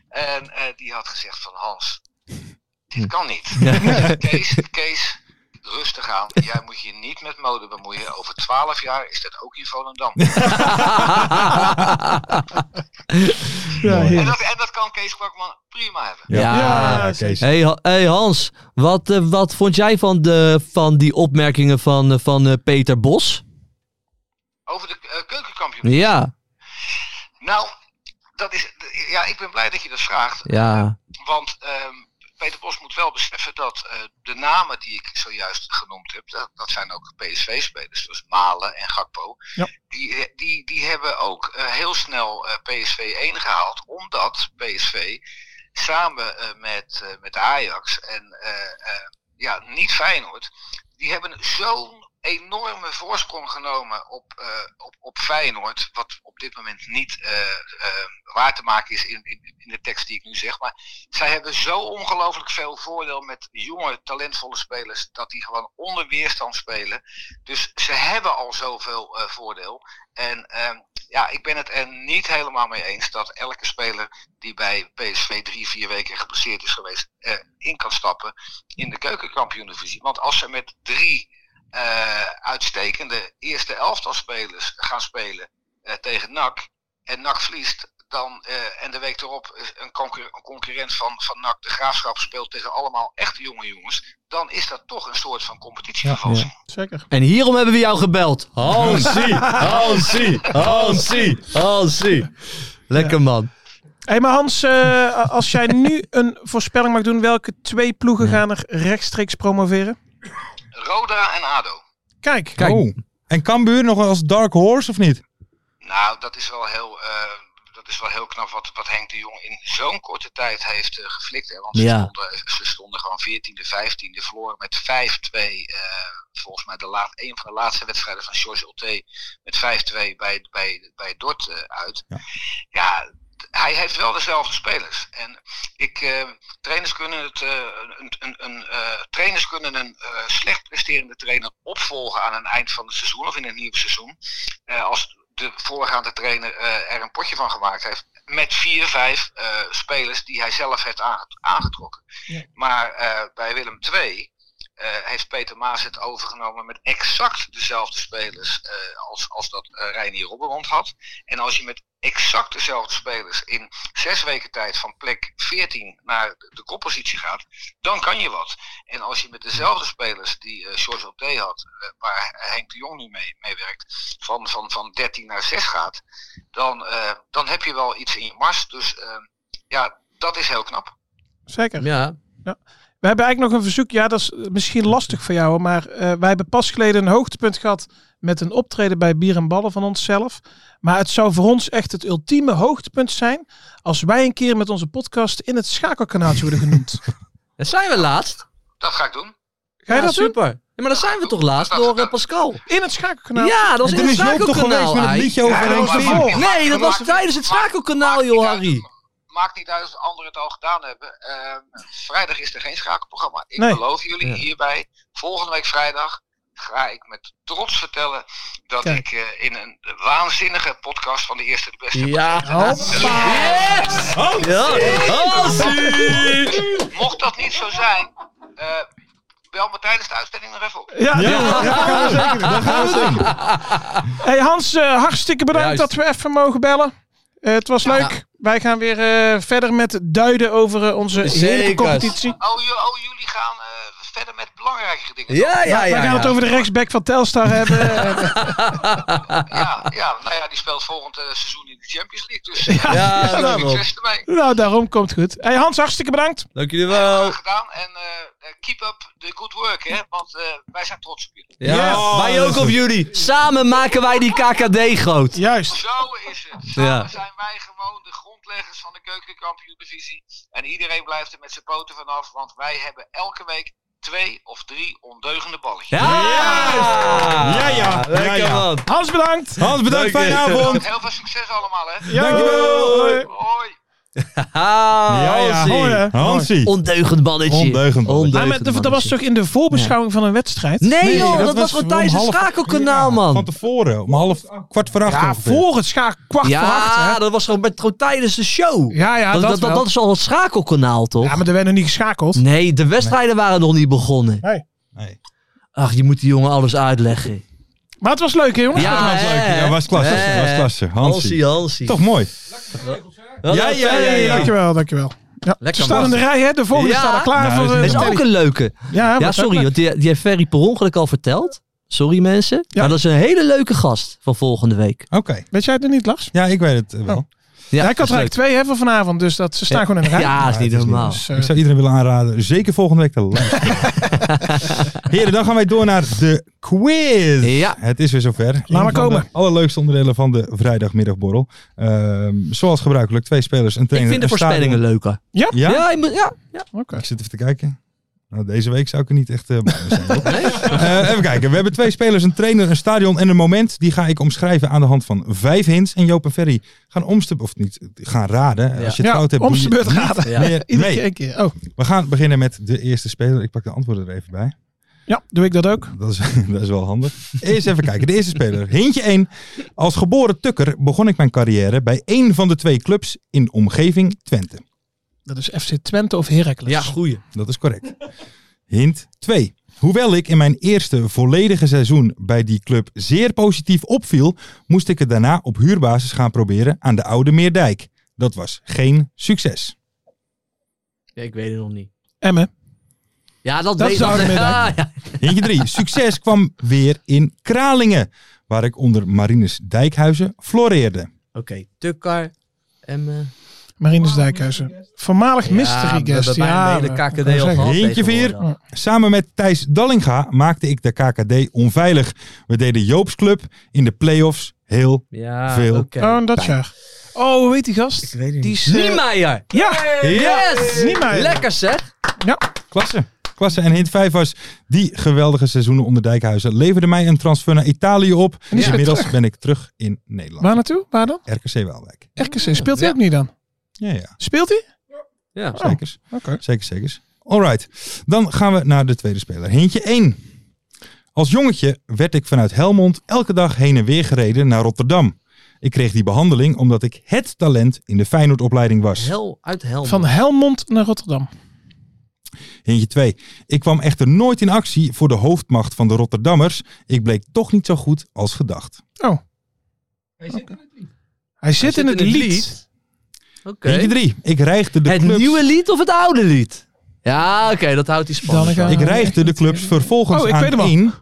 G: En eh, die had gezegd van Hans, dit kan niet. Kees, Kees, rustig aan. Jij moet je niet met mode bemoeien. Over twaalf jaar is dat ook in Volendam.
E: Ja,
G: en,
E: heerlijk.
G: dat, en dat kan Kees Kwakman prima hebben.
F: Ja.
E: Ja,
D: Kees.
F: Hey, Ha- hey Hans, wat, eh, wat vond jij van, de, van die opmerkingen van, eh, van eh, Peter Bos?
G: Over de eh, keukenkampioen.
F: Ja,
G: Nou, dat is, ja, ik ben blij dat je dat vraagt.
F: ja,
G: Want ehm, Peter Bos moet wel beseffen dat eh, de namen die ik zojuist genoemd heb, dat, dat zijn ook PSV-spelers, dus Malen en Gakpo.
E: Ja.
G: Die, eh, die, die hebben ook eh, heel snel eh, PSV 1 gehaald, omdat PSV samen eh, met, eh, met Ajax en eh, eh, ja, niet Feyenoord, die hebben zo'n enorme voorsprong genomen op, eh, op, op Feyenoord. Wat op dit moment niet eh, eh, waar te maken is in, in, in de tekst die ik nu zeg. Maar zij hebben zo ongelooflijk veel voordeel met jonge, talentvolle spelers. Dat die gewoon onder weerstand spelen. Dus ze hebben al zoveel eh, voordeel. En ehm, ja, ik ben het er niet helemaal mee eens dat elke speler die bij PSV drie, vier weken geblesseerd is geweest, eh, in kan stappen in de keukenkampioendivisie. Want als ze met drie eh, uitstekende eerste elftalspelers gaan spelen eh, tegen NAC en NAC verliest, dan, eh, en de week erop is een, concur- een concurrent van, van NAC, de Graafschap, speelt tegen allemaal echt jonge jongens, dan is dat toch een soort van competitievervalsing.
E: Zeker.
F: En hierom hebben we jou gebeld. Hansie, Hansie, Hansie, Hansie. Lekker man.
E: Hé, maar Hans, eh, als jij nu een voorspelling mag doen, welke twee ploegen gaan er rechtstreeks promoveren?
G: Roda en ADO.
E: Kijk,
F: Kijk.
D: Oh. En Cambuur nog wel als dark horse of niet?
G: Nou, dat is wel heel, eh, dat is wel heel knap wat, wat Henk de Jong in zo'n korte tijd heeft eh, geflikt. Hè? Want ze,
F: Ja.
G: stonden, ze stonden gewoon 14e, 15e, verloren met 5-2. eh, volgens mij de laat, een van de laatste wedstrijden van George Olte met 5-2 bij, bij, bij Dort eh, uit. Ja, d- hij heeft wel dezelfde spelers. En ik, eh, trainers kunnen het, eh, een, een, een, eh, trainers kunnen een eh, slecht presterende trainer opvolgen aan het eind van het seizoen of in het nieuwe seizoen. Eh, als de voorgaande trainer eh, er een potje van gemaakt heeft. Met vier, vijf eh, spelers die hij zelf heeft aange- aangetrokken. Maar eh, bij Willem II eh, heeft Peter Maas het overgenomen met exact dezelfde spelers eh, als, als dat eh Reinier Robbermond had. En als je met exact dezelfde spelers in zes weken tijd van plek 14 naar de- de koppositie gaat, dan kan je wat. En als je met dezelfde spelers die eh George Oté had, eh, waar Henk de Jong nu mee, mee werkt, van, van, van 13 naar 6 gaat, dan, eh, dan heb je wel iets in je mars. Dus eh, ja, dat is heel knap.
E: zeker.
F: Ja.
E: We hebben eigenlijk nog een verzoek. Ja, dat is eh, misschien lastig voor jou, maar eh, wij hebben pas geleden een hoogtepunt gehad met een optreden bij Bier en Ballen van onszelf. Maar het zou voor ons echt het ultieme hoogtepunt zijn als wij een keer met onze podcast in het schakelkanaaltje worden genoemd.
F: Dat zijn we laatst.
G: Dat ga ik doen.
E: Ga je
F: ja,
E: dat doen?
F: super. Ja, maar dat zijn we toch laatst door eh, Pascal.
E: In het schakelkanaal.
F: Ja, dat
D: En
F: was
D: toen
F: in het
D: is Joop toch geweest
F: schakelkanaal.
D: met een
F: ei.
D: liedje over
E: Ja,
D: Henk
E: dat was
D: Veer.
E: ervoor.
F: Nee, dat was
G: Maakt-
F: tijdens het
G: maakt-
F: schakelkanaal,
G: maakt
F: joh,
G: niet uit.
F: Harry.
G: Maakt niet uit of anderen het al gedaan hebben. Ehm, vrijdag is er geen schakelprogramma. Ik
E: Nee.
G: beloof jullie
F: Ja.
G: hierbij. Volgende week vrijdag ga ik met trots vertellen dat
E: Kijk.
G: ik eh, in een waanzinnige podcast van de eerste de beste.
F: Ja, Yes! Ja, Hansie!
G: Mocht dat niet zo zijn, eh, bel me tijdens de uitzending nog even op.
E: Ja,
D: Ja, dat gaan we zeker doen. Dat gaan we zeker doen.
E: Hey Hans, eh, hartstikke bedankt
F: Juist.
E: dat we even mogen bellen. Eh, het was leuk. Wij gaan weer eh, verder met duiden over eh, onze heerlijke
F: Zeker.
E: competitie.
G: Oh, ju- oh, jullie gaan eh, verder met belangrijke dingen.
F: Ja, ja,
E: Wij
F: ja.
E: gaan
F: ja.
E: het over de rechtsback van Telstar hebben. Eh,
G: Ja, ja, nou ja, die speelt volgend eh, seizoen in de Champions League. Dus eh,
F: Ja, daarom.
G: succes ermee.
E: nou, daarom komt goed. Hey Hans, hartstikke bedankt.
F: Dank jullie wel.
G: Graag gedaan. En eh, eh, keep up the good work, hè. Want eh, wij zijn trots op jullie.
F: Ja, wij ook op jullie. Samen maken wij die KKD groot.
E: Juist.
G: Zo is het. Samen
F: Ja.
G: zijn wij gewoon de grondleggers van de keukenkampioen-divisie. En iedereen blijft er met zijn poten vanaf. Want wij hebben elke week twee of drie ondeugende balletjes.
F: Ja!
D: Ja, ja. Ja,
F: Lekker
D: ja.
F: man.
E: Hans, bedankt.
D: Hans, bedankt.
F: Dank je.
D: Fijne avond.
G: Heel veel succes allemaal, hè.
D: Dankjewel.
E: Hoi.
G: Hoi.
F: Ah, Hansie.
E: Hoi, hè.
D: Hansie.
F: Ondeugend balletje.
D: Ondeugend balletje.
E: Ah, maar dat dat was toch in de voorbeschouwing van een wedstrijd?
F: Nee, joh, dat, was
D: om
F: gewoon tijdens het
D: half-
F: schakelkanaal,
D: Ja, Van
F: man.
D: tevoren, om half kwart voor acht.
E: Ja,
D: ongeveer.
E: voor het schaak kwart voor acht.
F: Ja,
E: Hè?
F: dat was gewoon, met- gewoon tijdens de show.
E: Ja, ja,
F: dat,
E: dat,
F: dat, dat,
E: wel.
F: dat is Hm. al het schakelkanaal, toch?
E: Ja, maar er werden niet geschakeld.
F: Nee, de wedstrijden waren nog niet begonnen.
E: Nee.
D: Nee.
F: Ach, je moet die jongen alles uitleggen.
E: Maar het was leuk, hè, jongens.
D: was
F: hè?
D: leuk. Ja, was klasse,
F: Hè?
D: was klasse. Hansie.
F: Hansie, Hansie.
D: Toch mooi.
F: Ja, ja, ja. ja,
E: Dankjewel, dankjewel. Ja,
F: Lekker
E: ze staan
F: man.
E: in de rij, hè? De volgende
F: Ja.
E: staat al klaar
D: Nou,
E: voor
D: dat
E: eh,
F: Dat
E: de
F: is ook
E: telly.
F: een leuke.
E: Ja,
F: Ja,
E: wat
F: sorry,
E: leuk.
F: want die, die heeft Ferry per ongeluk al verteld. Sorry mensen.
E: Ja.
F: Maar dat is een hele leuke gast van volgende week.
D: Oké.
E: Weet jij het nog niet, Lars?
D: Ja, ik weet het eh, wel.
F: Ja,
E: Ja,
F: dat
E: ik had er
F: is
E: eigenlijk twee hè, van vanavond, dus dat, ze staan
F: Ja.
E: gewoon in de
F: leuk.
E: rij.
F: Ja, is niet
D: het is
F: normaal.
E: Dus, eh,
D: Ik zou iedereen willen aanraden, zeker volgende week te luisteren. Heren, dan gaan wij door naar de quiz.
F: Ja.
D: Het is weer zover. Een
E: maar
D: van
E: komen.
D: De allerleukste onderdelen van de vrijdagmiddagborrel. Ehm, zoals gebruikelijk, twee spelers, een
F: Ik
D: trainer.
F: vind de
D: een stadion.
F: voorspellingen leuker.
D: Ja?
F: Ja, je moet- ja.
E: Oké.
D: Ik zit even te kijken. Nou, deze week zou ik er niet echt eh, bij zijn. hoor. Eh, even kijken. We hebben twee spelers, een trainer, een stadion en een moment. Die ga ik omschrijven aan de hand van vijf hints. En Joop en Ferry gaan omste... Of niet, gaan raden.
F: Ja.
D: Als je het fout hebt...
E: om
D: doe
E: zijn
D: je
E: beurt
D: niet
E: raden.
F: Ja.
D: meer
E: Iedere
D: mee.
E: keer een keer. Oh,
D: We gaan beginnen met de eerste speler. Ik pak de antwoorden er even bij.
E: ja, doe ik dat ook?
D: Dat is, dat is wel handig. Eerst even kijken. De eerste speler. Hintje 1. Als geboren tukker begon ik mijn carrière bij één van de twee clubs in omgeving Twente.
E: Dat is FC Twente of Heracles.
F: Ja, goeie.
D: Dat is correct. Hint 2. Hoewel ik in mijn eerste volledige seizoen bij die club zeer positief opviel, moest ik het daarna op huurbasis gaan proberen aan de Oude Meerdijk. Dat was geen succes.
F: Ja, ik weet het nog niet.
E: Emmen.
F: Ja, dat,
E: Dat
F: weet
E: is de oude
F: ja,
E: middag.
F: ja.
D: Hintje 3. Succes kwam weer in Kralingen, waar ik onder Marinus Dijkhuizen floreerde.
F: Oké, Tukkar, eh, Emme.
E: Marinus Dijkhuizen. Voormalig mystery guest. Ja,
F: de
E: maar-
F: KKD al gehad.
D: Eentje
F: tegenwoordig.
E: vier.
D: Samen met Thijs Dallinga maakte ik de KKD onveilig. We deden Joop's Club in de playoffs heel.
F: Ja,
D: Veel.
F: oké.
E: Oh, en dat jaar. Oh, hoe heet die gast?
F: Ik weet het
E: die
F: niet.
E: is, eh,
F: Niemeyer!
E: Ja,
F: Yes!
E: Niemeyer.
F: Lekker zeg!
D: Klasse. Klasse. En hint 5 was, die geweldige seizoenen onder Dijkhuizen leverden mij een transfer naar Italië op.
E: die is weer
D: Inmiddels
E: terug.
D: ben ik terug in Nederland.
E: waar naartoe? Waar dan?
D: RKC Waalwijk.
E: RKC. Speelt hij
F: Ja.
E: ook niet dan?
D: Ja, ja.
E: Speelt hij?
F: Ja.
E: Oh.
D: Zekers. Zeker, zeker. Alright. Dan gaan we naar de tweede speler. Hintje 1. Als jongetje werd ik vanuit Helmond elke dag heen en weer gereden naar Rotterdam. Ik kreeg die behandeling omdat ik het talent in de Feyenoordopleiding was.
F: Hel uit Helm.
E: Van Helmond naar Rotterdam.
D: Hintje 2. Ik kwam echter nooit in actie voor de hoofdmacht van de Rotterdammers. Ik bleek toch niet zo goed als gedacht.
E: Hij zit, in het lied.
F: Oké.
D: Hintje 3. Ik reigde de
F: Het
D: clubs...
F: nieuwe lied of het oude lied? Ja, oké, dat houdt die spannend.
E: Dan ga-
D: Ik
E: Ah,
D: reigde de clubs vervolgens
E: Oh, ik
D: aan
E: weet hem al.
D: één.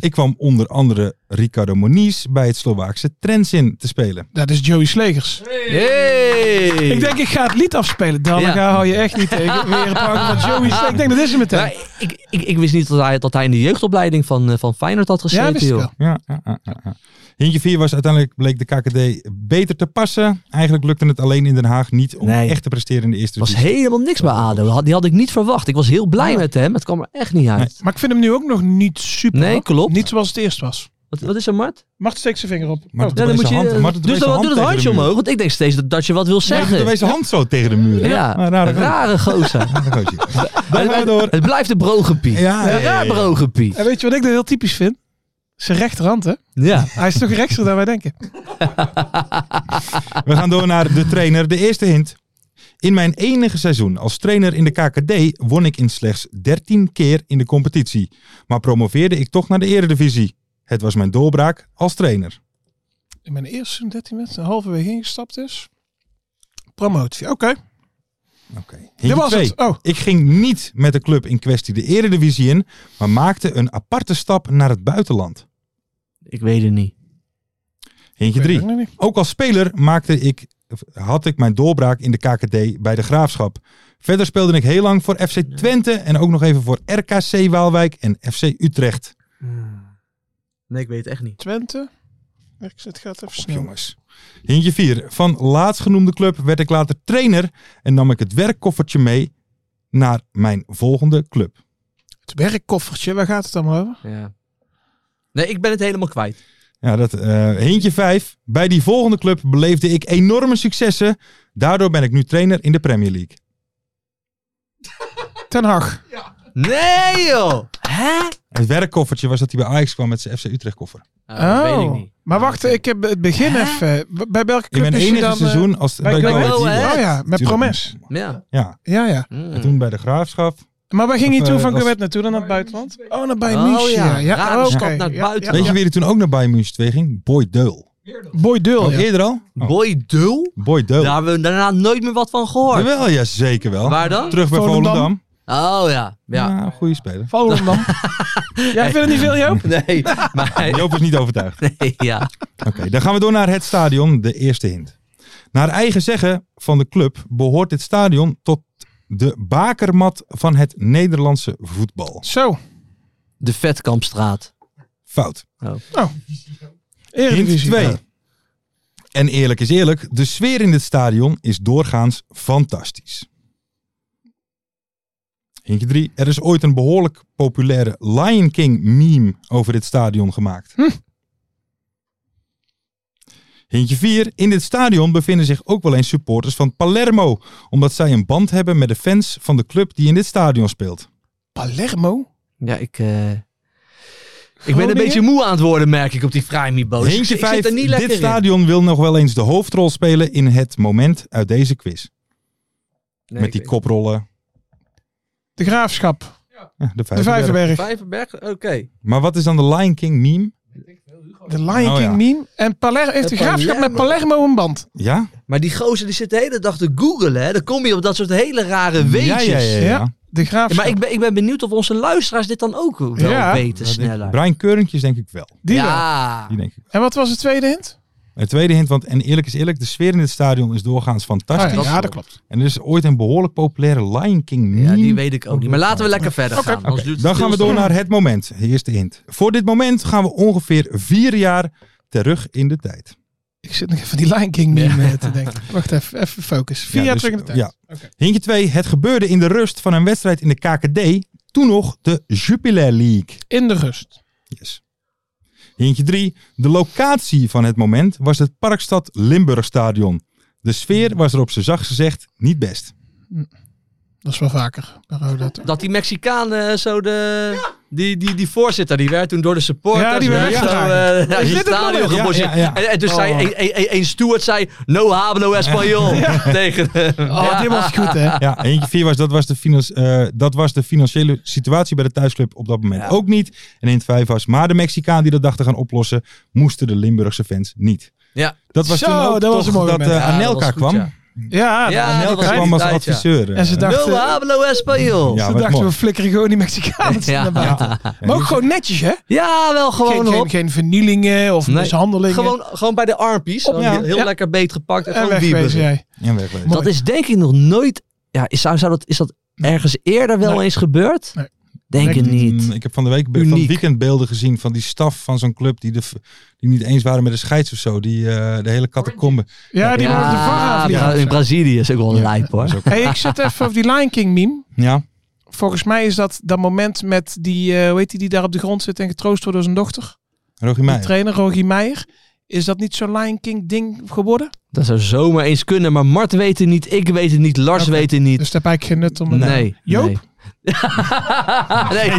D: Ik kwam onder andere Ricardo Moniz bij het Slovaakse Trensin te spelen.
E: Dat is Joey Slegers.
F: Hey.
E: Ik denk, ik ga het lied afspelen. Dan
F: Ja.
E: ga- hou je echt niet tegen. Weer een paar van Joey Slegers. Ik denk, dat is hem meteen.
F: Maar ik, ik, ik wist niet dat hij, dat hij in de jeugdopleiding van, eh, van Feyenoord had gezeten.
E: ja, wist ik
F: joh.
E: wel.
D: Ja, ja, ja, ja, ja. Hintje 4 was uiteindelijk bleek de KKD beter te passen. Eigenlijk lukte het alleen in Den Haag niet om
F: Nee.
D: echt te presteren in de eerste
F: Er was
D: divisie.
F: helemaal niks bij ADO. Had- Die had ik niet verwacht. Ik was heel blij met hem. Het kwam er echt niet uit.
E: Maar ik vind hem nu ook nog niet super.
F: Nee,
E: hoor.
F: klopt.
E: Niet zoals het eerst was.
F: Wat, wat is er, Mart?
E: Macht steekt zijn vinger op.
D: Maar
E: Oh.
D: dat- Doe
F: Ja, dan
D: deze
F: moet je,
D: hand-
F: eh,
D: Marten, doe
F: dus dan
D: deze hand
F: doe het
D: tegen
F: handje
D: de muur.
F: omhoog. Want ik denk steeds dat, dat je wat wil
D: Hij
F: zeggen.
D: doet deze hand zo tegen de muur. hè?
F: Ja,
D: Maar
F: rare,
D: raar, raar.
F: gozer.
D: Dan nou, gaan we door.
F: Het blijft een brogepie.
D: Ja, ja,
F: een
D: ja,
F: raar
D: ja.
F: brogepie.
E: En weet je wat ik dat heel typisch vind? Zijn rechterhand, hè?
F: Ja.
E: Hij is toch rechtser dan wij denken.
D: We gaan door naar de trainer. De eerste hint. In mijn enige seizoen als trainer in de KKD won ik in slechts 13 keer in de competitie. Maar promoveerde ik toch naar de eredivisie. Het was mijn doorbraak als trainer.
E: In mijn eerste seizoen 13 mensen, halverwege ingestapt is. Promotie. Oké,
D: Oké.
E: dit was
D: twee.
E: het. Oh,
D: Ik ging niet met de club in kwestie de eredivisie in, maar maakte een aparte stap naar het buitenland.
F: Ik weet het niet.
D: Hintje
E: weet ik
D: 3.
E: nog niet.
D: Ook als speler maakte ik, had ik mijn doorbraak in de KKD bij de Graafschap. Verder speelde ik heel lang voor FC Twente en ook nog even voor RKC Waalwijk en FC Utrecht.
F: Nee, ik weet het echt niet.
E: Twente. Ik zit gaat even
D: Op,
E: snel.
D: jongens. Hintje 4. Van laatstgenoemde club werd ik later trainer en nam ik het werkkoffertje mee naar mijn volgende club.
E: Het werkkoffertje, waar gaat het allemaal over?
F: Ja. Nee, ik ben het helemaal kwijt.
D: Ja, dat, eh hintje 5. Bij die volgende club beleefde ik enorme successen. Daardoor ben ik nu trainer in de Premier League.
E: Ten Hag.
F: Nee, joh! Hè?
D: Het werkkoffertje was dat hij bij Ajax kwam met zijn FC Utrecht koffer.
F: Ah, dat weet ik niet.
E: Oh. Maar wacht, Eh, ik heb het begin even. B- Bij welke
D: In
E: club
D: mijn
E: is hij
D: enige
E: dan? eh,
D: seizoen als
E: bij
D: bij Go
E: Go
F: Ahead.
D: Ahead.
E: Oh ja, met
D: Tuurlijk.
E: Promes.
F: Ja.
D: Ja.
E: Ja, ja.
F: Mm.
D: En toen bij de graafschap.
E: Maar waar ging hij
D: Of,
E: toen
D: eh,
E: van
D: was-
E: Gewet naartoe? Dan naar het buitenland? Oh, naar bij
F: Oh
E: München.
F: ja,
E: Ja,
F: rare
E: oké.
F: stap naar het
E: Ja,
F: buitenland.
D: Weet
E: Ja,
D: je wie er toen ook naar Bayern München twee ging? Boy Deul.
E: ja. Boy Deul,
D: Oh,
E: ja.
D: eerder al? Oh,
F: Boy Dul?
D: Boy Deul.
F: Daar hebben we daarna nooit meer wat van gehoord.
D: Jawel, ja, zeker wel.
F: Waar dan?
D: Terug bij
E: Volendam.
D: Volendam.
F: Oh ja. ja.
D: Ja, goede speler.
E: Volendam. Jij vindt het niet veel, Joop?
F: Nee, maar...
D: Joop is niet overtuigd.
F: Nee, ja.
D: Oké, dan gaan we door naar het stadion. De eerste hint. Naar eigen zeggen van de club behoort dit stadion tot de bakermat van het Nederlandse voetbal.
E: Zo,
F: De Vetkampstraat.
D: Fout. Hint
E: Eredivisie.
D: 2. En eerlijk is eerlijk, de sfeer in dit stadion is doorgaans fantastisch. Eentje drie. Er is ooit een behoorlijk populaire Lion King meme over dit stadion gemaakt. Hintje 4. In dit stadion bevinden zich ook wel eens supporters van Palermo. Omdat zij een band hebben met de fans van de club die in dit stadion speelt.
E: Palermo?
F: Ja, ik, eh, ik ben
E: Groningen?
F: een beetje moe aan het worden, merk ik, op die Vrijmibo's. Ik,
D: Hintje
F: Oh, ik zit
D: 5.
F: er niet lekker
D: Dit
F: in.
D: stadion wil nog wel eens de hoofdrol spelen in het moment uit deze quiz.
F: Nee,
D: met
F: ik
D: die
F: weet-
D: koprollen.
E: De Graafschap.
D: Ja, de
E: De
D: Vijverberg.
E: Vijverberg.
F: Vijverberg, oké.
D: Maar wat is dan de Lion King meme?
E: De Lion
D: Oh,
E: King
D: ja.
E: meme. En Palermo, heeft de
F: En
E: Graafschap met
F: Palermo.
E: Palermo een band?
D: Ja? Nou,
F: Maar die gozer die zit de hele dag te googlen, hè. Dan kom je op dat soort hele rare
D: Ja,
F: weetjes.
D: ja, ja, ja.
E: Ja. De
F: Ja,
E: Graafschap.
F: maar ik ben, ik ben benieuwd of onze luisteraars dit dan ook wel
E: Ja.
F: weten
D: Dat denk ik-
F: sneller.
D: Brian Keurentjes denk ik wel.
E: Die wel.
F: ja.
D: Die denk ik.
E: En wat was de tweede hint?
D: Een tweede hint, want en eerlijk is eerlijk, de sfeer in dit stadion is doorgaans fantastisch.
E: Ah, ja,
F: dat
E: ja, dat
F: klopt.
E: klopt.
D: En er is ooit een behoorlijk populaire Lion King meme.
F: ja, die weet ik ook niet. Maar laten we lekker verder gaan.
D: Oké,
F: anders duurt het
D: dan gaan
F: veel
D: we door
F: te lang.
D: naar het moment. De eerste hint. Voor dit moment gaan we ongeveer vier jaar terug in de tijd.
E: Ik zit nog even aan die Lion King meme eh, te denken. Wacht even, even focus. Vier
D: Ja,
E: jaar
D: dus-
E: terug in de tijd.
D: Ja.
E: Oké.
D: Hintje 2. Het gebeurde in de rust van een wedstrijd in de KKD. Toen nog de Jupiler League.
E: In de rust.
D: Yes. Hintje 3. De locatie van het moment was het Parkstad Limburgstadion. De sfeer was er op zijn zacht gezegd niet best.
E: Dat is wel vaker. bij Roda toch?
F: Dat die Mexicaan eh, zo de... Die, die, die voorzitter, die werd toen door de supporters...
E: Ja, die werd
F: werd zo,
E: weggedragen.
F: eh, uit
E: dit
F: het
E: het
F: stadion
E: moment?
D: Ja,
F: gepositioneerd.
D: ja, ja.
F: En, en dus zei
E: Oh.
F: een, een, een- een steward zei... No hablo español. Tegen hem.
E: Oh,
F: Ja.
E: dit was goed, hè?
D: Ja, eentje vier was dat was, de finans, eh, dat was de financiële situatie bij de thuisclub op dat moment
F: Ja.
D: ook niet. En hint vijf was, maar de Mexicaan die dat dacht te gaan oplossen, moesten de Limburgse fans niet.
F: Ja.
D: Dat was
E: Zo,
D: toen ook
E: dat was
D: toch
E: een mooi
D: dat
E: moment.
D: eh,
F: Ja, dat
D: Anelka
F: was goed,
D: kwam.
F: ja.
E: Ja,
F: Ja,
E: dat-
F: dat
D: Anelka
F: was
D: kwam
F: die
D: als
F: tijd, ja.
D: adviseur. eh.
E: En ze dachten,
F: No hablo español.
D: Ja,
E: ze
D: wat
E: dachten
D: mooi.
E: we flikkeren gewoon die Mexicaans
F: Ja.
E: naar buiten.
D: En
E: Maar ook
D: die-
E: gewoon netjes, hè?
F: Ja, wel
E: Geen,
F: gewoon
E: geen,
F: hop.
E: geen vernielingen of
F: Nee.
E: mishandelingen.
F: Gewoon, gewoon bij de armpies. Gewoon
D: ja.
F: Heel
E: Ja.
F: lekker beet gepakt. En,
E: en
F: gewoon
E: wegwezen
F: wieberen.
E: jij.
D: en wegwezen.
F: Dat is denk ik nog nooit... Ja, is, zou, zou dat, is dat ergens eerder wel
E: Nee.
F: eens gebeurd?
E: Nee.
F: Denk
E: Denk
F: het
D: Mm,
F: niet.
D: Ik heb van de week be- van
F: Uniek.
D: het weekend beelden gezien van die staf van zo'n club die, de, f- die niet eens waren met de scheids of zo. Die eh, de hele catacombe.
E: Ja, die
F: ja,
E: waren de VAR
F: Bra- in
E: afliegen.
F: Brazilië is ook wel een
D: Ja.
F: lijp hoor.
E: Hey, ik zit even op die Lion King meme.
D: Ja,
E: Volgens mij is dat dat moment met die, eh, hoe heet die, die daar op de grond zit en getroost wordt door zijn dochter.
D: Rogier
E: De
D: Meijer.
E: trainer, Rogier Meijer. Is dat niet zo'n Lion King ding geworden?
F: Dat zou zomaar eens kunnen, maar Mart weet het niet, ik weet het niet, Lars
E: Oké.
F: weet het niet.
E: Dus daar heb ik geen nut om.
F: nee.
E: een-
F: nee.
E: Joop?
F: nee.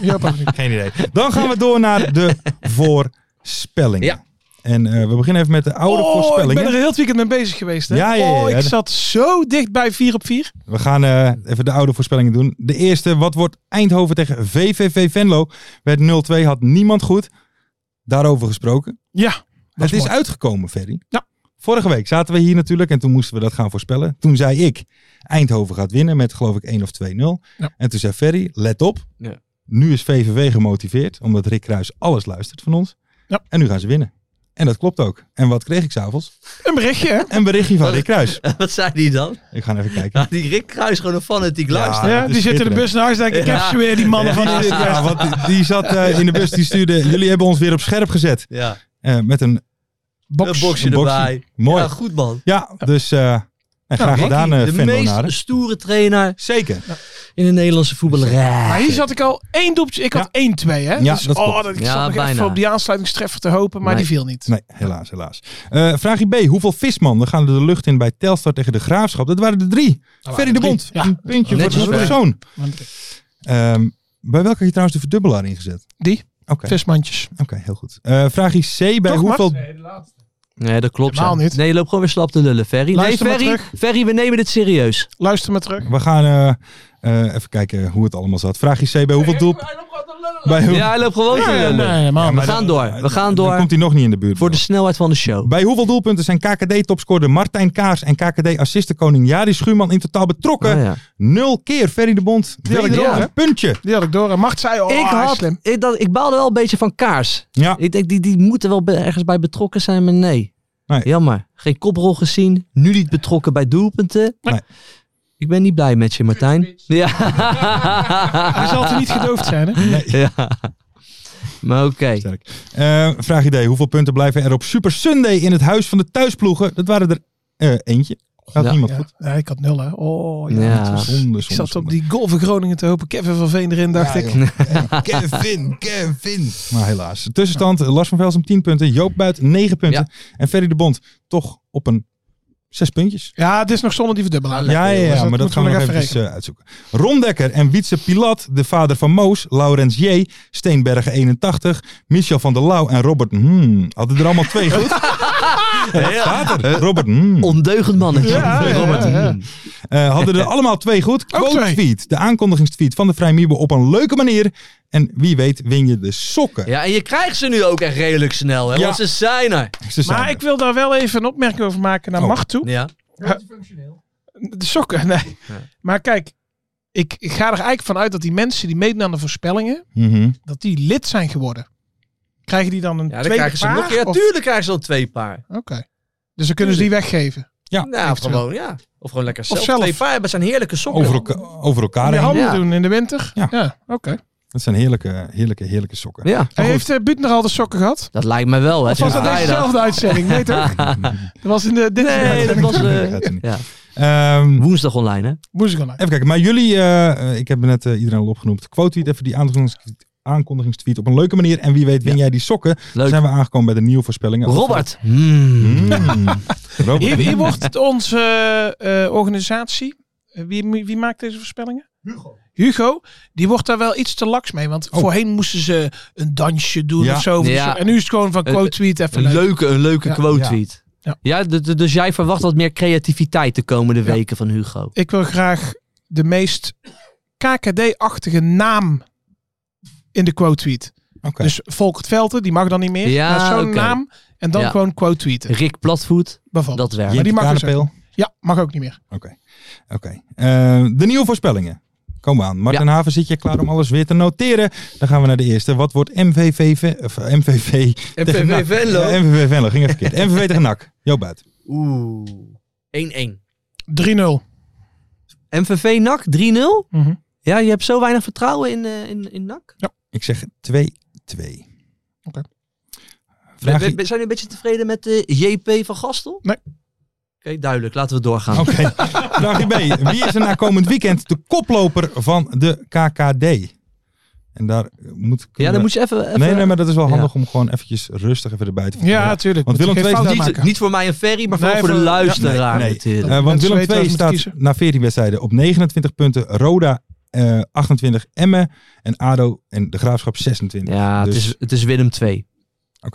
E: Joop ook niet.
D: Geen idee. Dan gaan we door naar de voorspellingen.
F: Ja.
D: En eh, we beginnen even met de oude
E: Oh, ik
D: voorspellingen.
E: ben er heel het weekend mee bezig geweest. Hè?
D: Ja, ja, ja,
E: Oh,
D: ja.
E: ik zat zo dicht bij 4 op 4.
D: We gaan eh, even de oude voorspellingen doen. De eerste, wat wordt Eindhoven tegen VVV Venlo? Werd 0-2, had niemand goed. Daarover gesproken.
E: Ja, dat
D: het is
E: mooi.
D: uitgekomen, Ferry.
E: Ja.
D: Vorige week zaten we hier natuurlijk en toen moesten we dat gaan voorspellen. Toen zei ik, Eindhoven gaat winnen met geloof ik 1 of 2-0.
E: Ja.
D: En toen zei Ferry, let op.
F: Ja.
D: Nu is VVV gemotiveerd, omdat Rick Kruis alles luistert van ons.
E: Ja.
D: En nu gaan ze winnen. En dat klopt ook. En wat kreeg ik s'avonds?
E: Een berichtje, hè?
D: Een berichtje van Rick Kruis.
F: Wat zei die dan?
D: Ik ga even kijken.
F: Ja, die Rick Kruis gewoon een fanatiek
D: Ja.
F: luister.
E: Ja,
D: dat is
E: die zit in de bus naar huis denk ik, ik heb
F: Ja.
E: ze weer, die mannen van
D: Ja,
E: die
D: ja, want die, die zat eh, in de bus, die stuurde, jullie hebben ons weer op scherp gezet.
F: Ja.
D: Eh, met een,
F: Een boxje
D: een boxje.
F: erbij.
D: Mooi.
F: Ja,
D: Ja,
F: goed man.
D: dus eh, en graag
F: Ricky,
D: gedaan, eh
F: de
D: Venlo
F: meest
D: Naren.
F: stoere trainer
D: Zeker.
F: in de Nederlandse voetballerij.
E: Maar hier zat ik al één doelpuntje. Ik had 1-2, hè?
D: Ja,
E: dus,
D: dat
E: oh,
D: klopt.
E: dat, ik
F: Ja,
E: zat nog
F: bijna.
E: even op die aansluitingstreffer te hopen, maar
F: Nee.
E: die viel niet.
D: Nee, helaas, helaas. Eh vraagje B. Hoeveel vismannen gaan er de lucht in bij Telstar tegen de Graafschap? Dat waren er drie. Ferry de
E: Oh, drie.
D: Bond.
E: Ja.
D: Een puntje
F: Netjes
D: voor de
F: wel.
D: persoon. Ehm, bij welke had je trouwens de verdubbelaar ingezet?
E: Die?
D: Oké,
E: Vismandjes.
D: oké, heel goed. Eh vraagje C. Bij
E: Toch,
D: hoeveel...
F: Nee, dat klopt.
E: Helemaal
F: ja.
E: niet.
F: Nee, je loopt gewoon weer slap te lullen, Ferry.
E: Luister
F: nee,
E: maar
F: Ferry,
E: terug.
F: Ferry, we nemen dit serieus.
E: Luister maar terug.
D: We gaan eh, eh, even kijken hoe het allemaal zat. Vraagje C. Bij hoeveel doel... Bij hoe-
F: Ja, hij loopt gewoon te
E: Nee,
F: lullen.
E: nee, helemaal
F: we
E: niet.
F: gaan door. We gaan
D: Dan
F: door
D: komt hij nog niet in de buurt.
F: voor de snelheid van de show.
D: Bij hoeveel doelpunten zijn KKD-topscorer Martijn Kaars en KKD-assistenkoning Jari Schuurman in totaal betrokken?
F: Ah, ja.
D: Nul keer Ferry de Bond.
E: had ik
D: Wederom
F: door, hè?
D: een puntje.
E: Die had ik door. En Macht zei, oh,
F: ik,
E: hij is
F: had,
E: slim.
F: ik, dat, ik baalde wel een beetje van Kaars.
D: Ja,
F: Ik denk, die, die moeten wel be- ergens bij betrokken zijn, maar nee.
D: Nee.
F: Jammer. Geen koprol gezien. Nu niet betrokken bij doelpunten.
D: Nee.
F: Ik ben niet blij met je, Martijn. Ja.
E: Hij zal er niet gedoofd zijn, hè?
F: ja. Maar oké.
D: sterk. Eh, vraag idee. Hoeveel punten blijven er op Super Sunday in het huis van de thuisploegen? Dat waren er eh, eentje. Gaat
F: Ja.
D: niemand
E: Ja.
D: goed.
E: Ja, ik had nul, hè. Oh, ja.
F: Ja.
E: het was-
D: Zonde,
E: ik
D: zonde,
E: zat op
D: zonde.
E: die golf in Groningen te hopen. Kevin van Veen erin, dacht
D: Ja,
E: ik.
D: joh. Kevin, Kevin. Maar helaas. De Tussenstand, Lars van Velsen 10 punten. Joop Buit 9 punten. En Ferry de Bond toch op een 6 puntjes.
E: Ja, het is nog zonder die verdubbelaar.
D: Ja, ja, ja,
E: jongens,
D: maar dat
E: moeten
D: gaan
E: we
D: we nog
E: nog
D: even
E: rekenen.
D: eh, uitzoeken. Ron Dekker en Wietse Pilat, de vader van Moos, Laurens J, Steenbergen 81, Michel van der Lauw en Robert hmm, hadden er allemaal twee goed. Ja, dat staat er. Robert hmm.
F: Ondeugend mannetje.
E: Ja, ja,
F: Robert.
E: ja, ja.
F: mm.
D: Eh, hadden er allemaal twee goed.
E: Ook twee.
D: Quote-tweet, de aankondigingstweet van de Vrij Mibo op een leuke manier. En wie weet win je de sokken.
F: Ja, en je krijgt ze nu ook echt redelijk snel, hè?
D: Ja.
F: Want ze zijn er.
D: Ze zijn
E: Maar
D: er.
E: ik wil daar wel even een opmerking over maken naar
D: Oh.
E: Macht toe.
F: Ja.
E: De sokken, nee. Maar kijk, ik, ik ga er eigenlijk vanuit dat die mensen die meedoen aan de voorspellingen,
D: Mhm.
E: dat die lid zijn geworden. Krijgen die dan een
F: Ja, dan
E: tweede
F: krijgen ze
E: paar?
F: nog een keer. Ja,
E: Of-
F: tuurlijk krijgen ze dan twee paar.
E: Oké. Dus dan kunnen ze die weggeven.
D: Ja,
F: Nou, of gewoon, ja. Of gewoon lekker zelf,
E: zelf.
F: twee paar. hebben. Het zijn heerlijke sokken.
D: over, elka- over elkaar
E: En die
D: heen.
E: handel
F: Ja.
E: doen in de winter?
D: Ja.
E: oké.
D: Dat zijn heerlijke, heerlijke, heerlijke sokken.
F: Ja,
E: Hij heeft eh Buutner al de sokken gehad?
F: dat lijkt me wel, hè?
E: Of was dat
F: Sinds
E: echt
F: vrijdag.
E: dezelfde uitzending? Nee toch? Dat was in de... Dit
F: Nee, dat was eh,
D: Gaat er niet.
F: ja.
D: Ehm,
F: woensdag online, hè?
E: Moest ik al uit.
D: Even kijken, maar jullie, eh, eh, ik heb net eh, iedereen al opgenoemd. Quote tweet even die aankondigingstweet, aankondigingstweet op een leuke manier. En wie weet win jij die sokken. Dan
F: Leuk.
D: zijn we aangekomen bij de nieuwe voorspellingen.
F: Robert. Mm.
D: Mm. Robert.
E: Hier, hier wordt het onze eh, eh, organisatie... eh, wie, wie maakt deze voorspellingen? Hugo. Hugo, die wordt daar wel iets te laks mee. Want
D: Oh.
E: voorheen moesten ze een dansje doen
D: Ja.
E: of zo. voor de
F: Ja.
E: sok. En nu is het gewoon van
F: Eh,
E: quote tweet even
F: Een
E: leuk.
F: leuke, een leuke
E: Ja.
F: quote
D: Ja.
F: tweet.
E: Ja.
F: Ja, d- d- dus jij verwacht wat meer creativiteit de komende
E: Ja.
F: weken van Hugo.
E: Ik wil graag de meest KKD-achtige naam in de quote tweet.
D: Oké.
E: Dus Volkert Velten, die mag dan niet meer.
F: Ja,
E: maar zo'n
F: oké.
E: naam en dan
F: Ja.
E: gewoon quote tweeten.
F: Rick Platvoet,
E: Bijvoorbeeld.
F: dat werkt.
D: Jip
E: die dus- mag er zo.
D: Kanepeel.
E: Ja, mag ook niet meer.
D: Oké. Oké. Eh, de nieuwe voorspellingen. Kom aan. Martin Haven, zit je klaar om alles weer te noteren? Dan gaan we naar de eerste. Wat wordt MVV... ve- Of eh, MVV... tegen NAC?
F: Venlo.
D: Ja, MVV Venlo. Ging even verkeerd. MVV tegen NAC. Joop Buit.
F: Oeh. 1-1.
E: 3-0.
F: MVV NAC 3-0.
E: Mhm.
F: Ja, je hebt zo weinig vertrouwen in, eh, in, in NAC.
D: Ik zeg 2-2. Vraag...
E: Oké.
F: Ben- ben- ben- zijn jullie een beetje tevreden met de JP van Gastel?
E: Nee. Oh,
F: Oké, duidelijk. Laten we doorgaan.
D: Oké. Vraagje B. Wie is er na komend weekend de koploper van de KKD? En daar moet...
F: Ja, dan moet je even... even
D: Nee, nee, maar dat is wel handig om gewoon eventjes rustig even erbij te
E: Ja, tuurlijk.
D: Want
E: Moet je
D: Willem II
E: geen fout
D: is
E: maken.
F: niet, niet voor mij een ferry, maar
E: Nee,
F: vooral voor de
E: voor- ja,
F: luisteraar
D: nee.
F: natuurlijk.
D: Eh, want
E: Mensen
D: Willem
E: weten waar
D: II
E: ze
D: staat
E: moeten kiezen.
D: na 14 wedstrijden op 29 punten. Roda eh, 28, Emmen en ADO en de Graafschap 26.
F: Ja,
D: Dus-
F: het, is, het is Willem 2.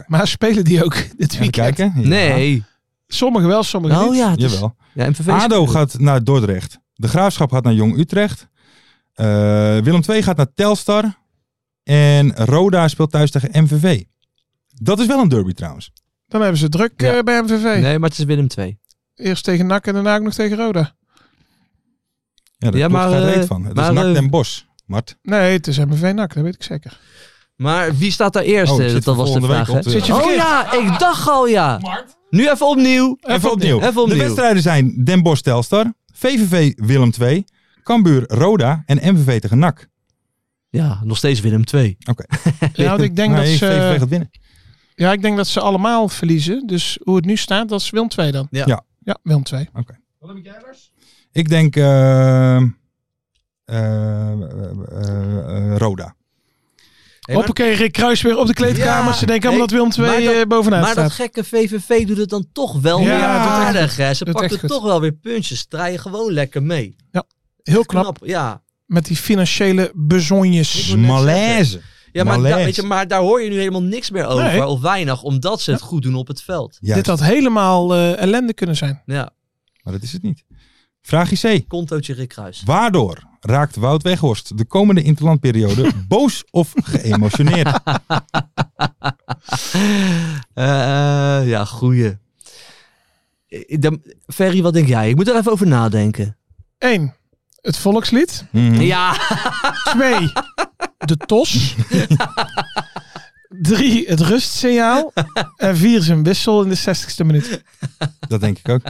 E: Maar spelen die ook dit
D: Even
E: weekend?
D: kijken. Ja.
F: Nee.
E: Sommigen wel, sommigen
F: Oh
E: niet.
F: ja, het is-
D: Jawel.
F: ja MVV is-
D: ADO gaat naar Dordrecht. De Graafschap gaat naar Jong Utrecht. Eh, Willem II gaat naar Telstar. En Roda speelt thuis tegen MVV. Dat is wel een derby trouwens.
E: Dan hebben ze druk
F: Ja.
E: eh, bij MVV.
F: Nee, maar het is Willem 2.
E: Eerst tegen NAC en daarna ook nog tegen Roda.
D: Ja, daar
F: Ja,
D: klopt
F: maar,
D: geen
F: eh,
D: reet van. Het is
F: maar,
D: Nakt
F: eh,
D: en Bos, Mart.
E: Nee, het is MVV-NAC, dat weet ik zeker.
F: Maar wie staat daar eerst?
D: Oh, ik
F: eh,
D: zit
F: dat
D: voor
F: was de
D: volgende
F: vraag.
D: week op
F: hè?
D: de- Zit
E: je
F: oh
E: verkeerd?
F: ja, ik dacht al ja. Nu even opnieuw.
D: Even opnieuw.
F: Even opnieuw.
D: De wedstrijden zijn Den Bosch Telstar, VVV Willem II, Cambuur Roda en MVV tegen NAC.
F: Ja, nog steeds Willem 2.
E: Ja, want ik denk,
D: Nee,
E: dat ze,
D: VVV gaat winnen.
E: ja, ik denk dat ze allemaal verliezen. Dus hoe het nu staat, dat is Willem 2 dan.
F: Ja.
D: Ja.
E: Ja, Willem 2.
D: Ik denk eh, eh, eh, eh, Roda.
F: Hey, maar-
E: Hoppakee, Rick Kruis weer op de kleedkamer.
F: Ja.
E: Ze denken allemaal
F: Hey,
E: dat Willem
F: maar
E: 2
F: dat-
E: eh, bovenaan
F: maar dat
E: staat.
F: gekke VVV doet het dan toch wel
E: Ja,
F: weer
E: doet echt
F: aardig. Hè? Ze
E: Doet echt
F: pakken
E: goed.
F: toch wel weer puntjes. Draaien gewoon lekker mee.
E: Heel knap.
F: Ja,
E: Met die financiële
F: Ik
E: bezonjes.
F: wil net
D: Malaise.
F: ja maar,
D: Malaise.
F: daar, weet je, maar daar hoor je nu helemaal niks meer over.
E: Nee.
F: Of weinig, omdat ze het goed doen op het veld.
D: Juist,
E: Dit had helemaal eh, ellende kunnen zijn.
F: Ja,
D: maar dat is het niet. Vraagje C.
F: contootje Rick Kruis.
D: Waardoor raakt Wout Weghorst de komende interlandperiode boos of geëmotioneerd?
F: Eh, eh, ja, goeie. Eh, dan- Ferry, wat denk jij? Ik moet er even over nadenken.
E: 1. Het volkslied.
D: Mhm.
F: Ja,
E: 2. De tos. 3. Het rustsignaal. En 4. Zijn wissel in de 60ste minuut.
D: Dat denk ik ook.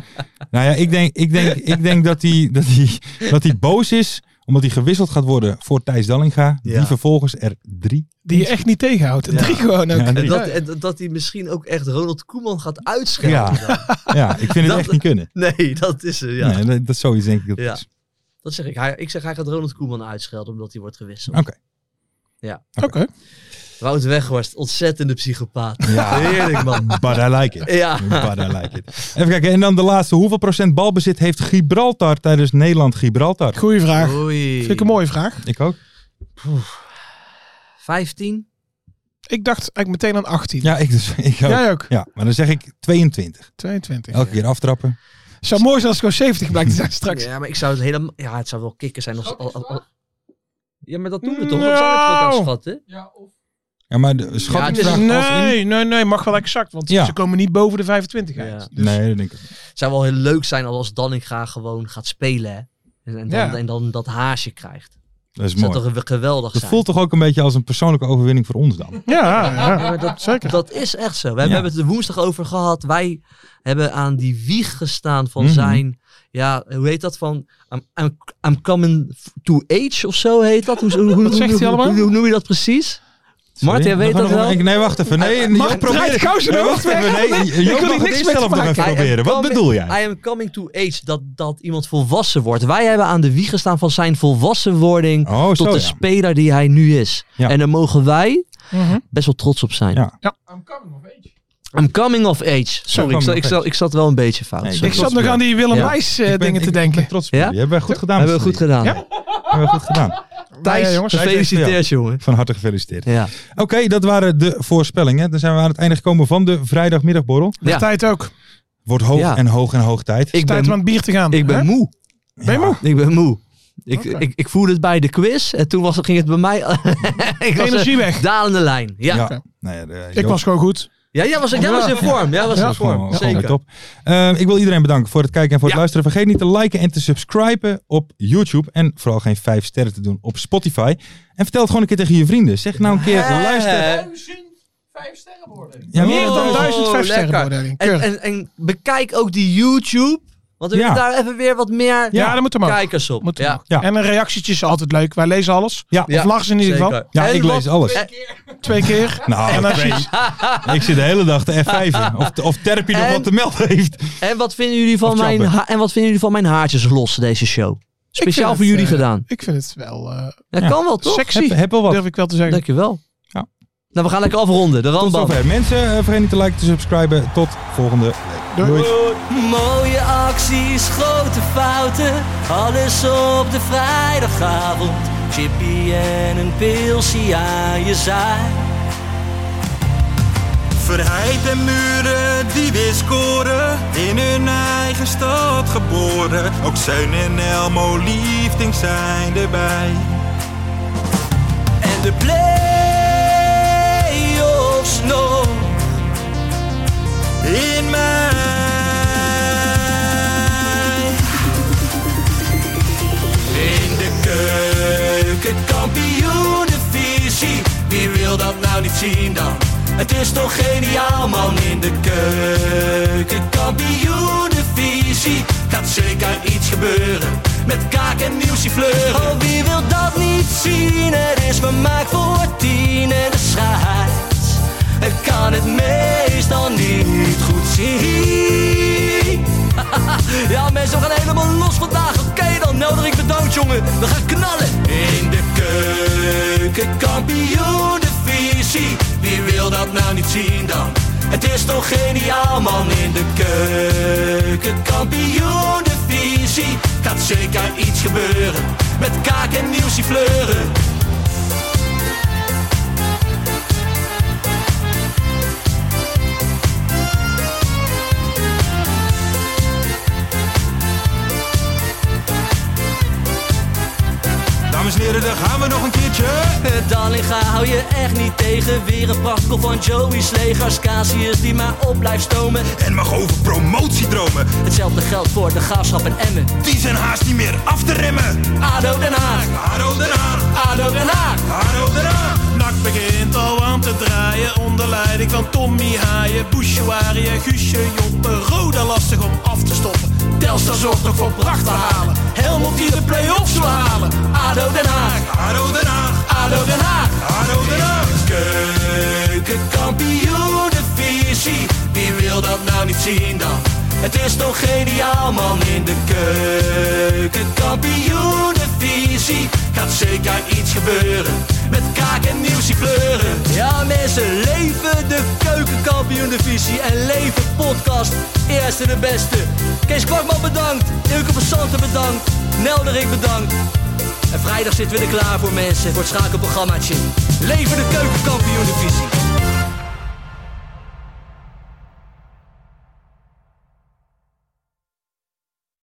D: Nou ja, ik denk, ik denk, ik denk dat hij dat die, dat die boos is Omdat hij gewisseld gaat worden voor Thijs Dallinga.
F: Ja.
D: Die vervolgens er drie.
E: Die je echt niet tegenhoudt.
F: Ja.
E: Drie gewoon ook.
D: Ja,
F: En
D: drie.
F: dat, en dat- dat hij misschien ook echt Ronald Koeman gaat uitschelden.
D: Ja.
F: dan.
D: Ja, ik vind het
F: Dat-
D: echt niet kunnen.
F: Nee, dat is er. Ja.
D: Nee, dat, dat is zoiets denk ik dat het
F: Ja.
D: is.
F: Dat zeg ik. Hij, ik zeg, hij gaat Ronald Koeman uitschelden omdat hij wordt gewisseld.
D: Oké.
E: Oké.
F: Wout Weghorst, ontzettende psychopaat.
D: Ja.
F: Heerlijk, man.
D: But I like it.
F: Ja.
D: But I like it. Even kijken. En dan de laatste. Hoeveel procent balbezit heeft Gibraltar tijdens Nederland-Gibraltar?
E: Goeie vraag.
F: Oei.
E: Vind ik een mooie vraag.
D: Ik ook.
F: 15?
E: Ik dacht eigenlijk meteen aan 18.
D: Ja, ik dus. Ik ook.
E: Jij ook?
D: Ja, Oh. maar dan zeg ik 22.
E: 22.
D: Elke keer aftrappen.
E: Het zou mooi zijn als het gewoon 70 blijkt te zijn straks.
F: Ja, maar ik zou het helemaal... Ja, het zou wel kicken zijn als... al- al- al- Ja, maar dat doen we toch?
E: Nou.
F: Of zijn we het ook aan het schatten?
D: Ja, maar de schatting
F: Ja, het is-
D: vraagt als in-
E: Nee, nee, nee. Mag wel exact. Want
D: Ja.
E: ze komen niet boven de 25 uit.
F: Ja.
E: Dus-
D: Nee, dat denk ik ook.
F: Het zou wel heel leuk zijn als Dallinga gewoon gaat spelen. hè? En, en, dan,
E: Ja.
F: en dan dat haasje krijgt.
D: Dat is
F: Dat zou
D: mooi.
F: toch een- geweldig
D: Dat
F: zijn?
D: voelt toch ook een beetje als een persoonlijke overwinning voor ons dan?
E: Ja, ja.
F: Ja, maar dat,
E: Zeker.
F: dat is echt zo. We
D: Ja.
F: hebben het er woensdag over gehad. Wij hebben aan die wieg gestaan van
D: Mhm.
F: zijn... Ja, hoe heet dat? Van I'm, I'm, I'm coming to age of zo heet dat. Hoe, hoe, hoe,
E: Wat zegt
F: hoe-
E: hij
F: hoe-
E: allemaal?
F: Hoe, noem je dat precies? Martin,
D: Sorry?
F: weet
D: Nog
F: dat
D: een-
F: wel?
D: ik- Nee, wacht even. Nee, Joop,
E: draait gauw zijn
D: nee,
E: hoofd
D: wacht
E: weg.
D: even. Nee,
E: Ik wil
D: Joop
E: hier
D: mag het
E: niks
D: eerst
E: mee te
D: zelf nog
E: maken.
D: even
F: I am
D: proberen. Wat
F: coming-
D: bedoel jij?
F: I am coming to age. Dat, dat iemand volwassen wordt. Wij hebben aan de wieg gestaan van zijn volwassenwording...
D: Oh,
F: tot
D: zo
F: de
D: ja.
F: speler die hij nu is.
D: Ja.
F: En daar mogen wij
E: Mhm.
F: best wel trots op zijn.
D: Ja.
F: I'm coming of age. Sorry, ik
D: coming
F: zat,
D: of
F: ik, zat,
D: age.
F: ik zat wel een beetje fout.
D: Nee,
F: Sorry.
D: ben
E: Ik zat
D: trots
E: nog
D: op
E: aan die Willem
F: Ja.
E: Wijs
D: Ik
E: eh,
D: ben-
E: dingen
D: ik
E: te
D: ben
E: denken.
D: trots op jullie.
F: Ja?
D: Hebben we goed gedaan.
F: Hebben we
D: met
F: goed
D: z'n drieën.
F: gedaan.
E: Ja.
D: Hebben we goed gedaan.
F: Thijs,
E: Ja, jongens.
F: gefeliciteerd jongen.
D: Van harte gefeliciteerd.
F: Ja.
D: Oké, dat waren de voorspellingen. Dan zijn we aan het einde gekomen van de vrijdagmiddagborrel.
F: Ja.
E: Tijd ook.
D: Wordt hoog
F: Ja.
D: en hoog en hoog tijd.
F: Ik
E: Tijd
F: ben,
E: om aan het bier te gaan.
F: ik ben
E: Hè?
F: moe.
E: Ben je moe?
F: Ik ben moe. Ik,
E: Oké.
F: ik, ik voelde het bij de quiz en toen was, ging het bij mij... ik was
E: Energie
F: een
E: weg.
F: dalende lijn. Ja, ja.
D: Ja. Nou ja, de-
E: Ik
D: Joop-
E: was gewoon goed.
F: jij was, jij was in vorm. Jij was
D: Ja,
F: in
D: dat vond ik
F: vorm.
D: wel- vond ik
F: Zeker.
D: Top. Eh, ik wil iedereen bedanken voor het kijken en voor het
F: Ja.
D: luisteren. Vergeet niet te liken en te subscriben op YouTube. En vooral geen vijf sterren te doen op Spotify. En vertel het gewoon een keer tegen je vrienden. Zeg nou een keer,
F: Eh,
D: luister. Ja,
E: Meer dan
F: Oh,
E: duizend vijf
F: lekker.
E: sterren beoordeling.
F: En,
E: Keurig.
F: en, en bekijk ook die YouTube. Want we
D: Ja.
F: willen daar even weer wat meer
E: Ja, dat moet er maar.
F: kijkers op.
E: Moet
F: ja.
D: Ja.
E: En een reactietje is altijd leuk. Wij lezen alles.
D: Ja.
E: Of lachen ze in ieder geval.
F: Zeker.
D: Ja,
F: En
D: ik
F: wat-
D: lees alles.
E: Twee keer.
D: Nou,
E: En als je-
D: ik zit de hele dag te F5. Of, of Terpy nog
F: En-
D: wat te melden heeft.
F: En wat vinden jullie
D: Of
F: van, mijn,
D: Chopper.
F: ha- en wat vinden jullie van mijn haartjes los, deze show?
E: Ik vind
F: Speciaal
E: het,
F: voor jullie
E: eh,
F: gedaan.
E: Ik vind het wel eh,
F: Dat
D: ja.
F: kan wel, toch?
E: sexy.
D: Heb, heb wel wat.
E: Durf ik wel te zeggen.
F: Dankjewel.
D: Ja.
F: Nou, we gaan lekker afronden. De
D: Tot
F: randband.
D: zover. Mensen, eh, vergeet niet te liken, te subscriben. Tot volgende week.
E: Doei.
D: Doei.
F: Mooie acties, grote fouten. Alles op de vrijdagavond. Chippy en een pilsie aan je zaai.
H: Verheid en muren die weer scoren, in hun eigen stad geboren. Ook Zijn en Elmo liefding zijn erbij.
B: en de play-offs nog in mij. In de keuken, kampioenenvisie. Wie wil dat nou niet zien dan? Het is toch geniaal man in de keuken, kampioenenvisie. Gaat zeker iets gebeuren met kaak en nieuwsie fleuren. Oh, wie wil dat niet zien? Het is vermaakt voor tien en de scheids. Ik kan het meestal niet goed zien. Ja, mensen, we gaan helemaal los vandaag. Oké, dan nodig Nou, ik de dood, jongen. We gaan knallen. In de keuken, kampioen, de visie. Wie wil dat nou niet zien dan? Het is toch geniaal, man. In de keuken, kampioen, de visie. Gaat zeker iets gebeuren. Met kaak en nieuwsie fleuren.
H: Dames en heren, daar gaan we nog een keertje.
B: Dallinga hou je echt niet tegen. Weer een prachtkel van Joey's legers. Casius die maar op blijft stomen.
H: En mag over promotiedromen,
B: Hetzelfde geldt voor de gaafschap en Emmen.
H: die zijn haast niet meer af te remmen.
B: ADO Den Haag,
H: Haro Den Haag,
B: ADO Den Haag.
H: Haro Den Haag.
B: Nak begint al aan te draaien.
F: haaien onder leiding van Tommy Haaien, Bouchouari en Guusje Joppen. Roda lastig om af te stoppen. Telstar zorgt nog voor pracht te halen. Helmond die de play-offs wil halen. ADO Den Haag, ADO Den Haag, ADO Den Haag, ADO Den Haag. Keukenkampioenenvisie, wie wil dat nou niet zien dan? Het is toch geniaal man in de keukenkampioenenvisie. Gaat zeker iets gebeuren, met kaak en nieuwsie kleuren.
I: Ja mensen, leven de keukenkampioen-divisie en leven podcast. Eerste de beste. Kees Kwakman bedankt, Ilke van Santen bedankt, Nelderik bedankt. En vrijdag zitten we er klaar voor mensen, voor het schakelprogrammaatje. Leven de keukenkampioen-divisie.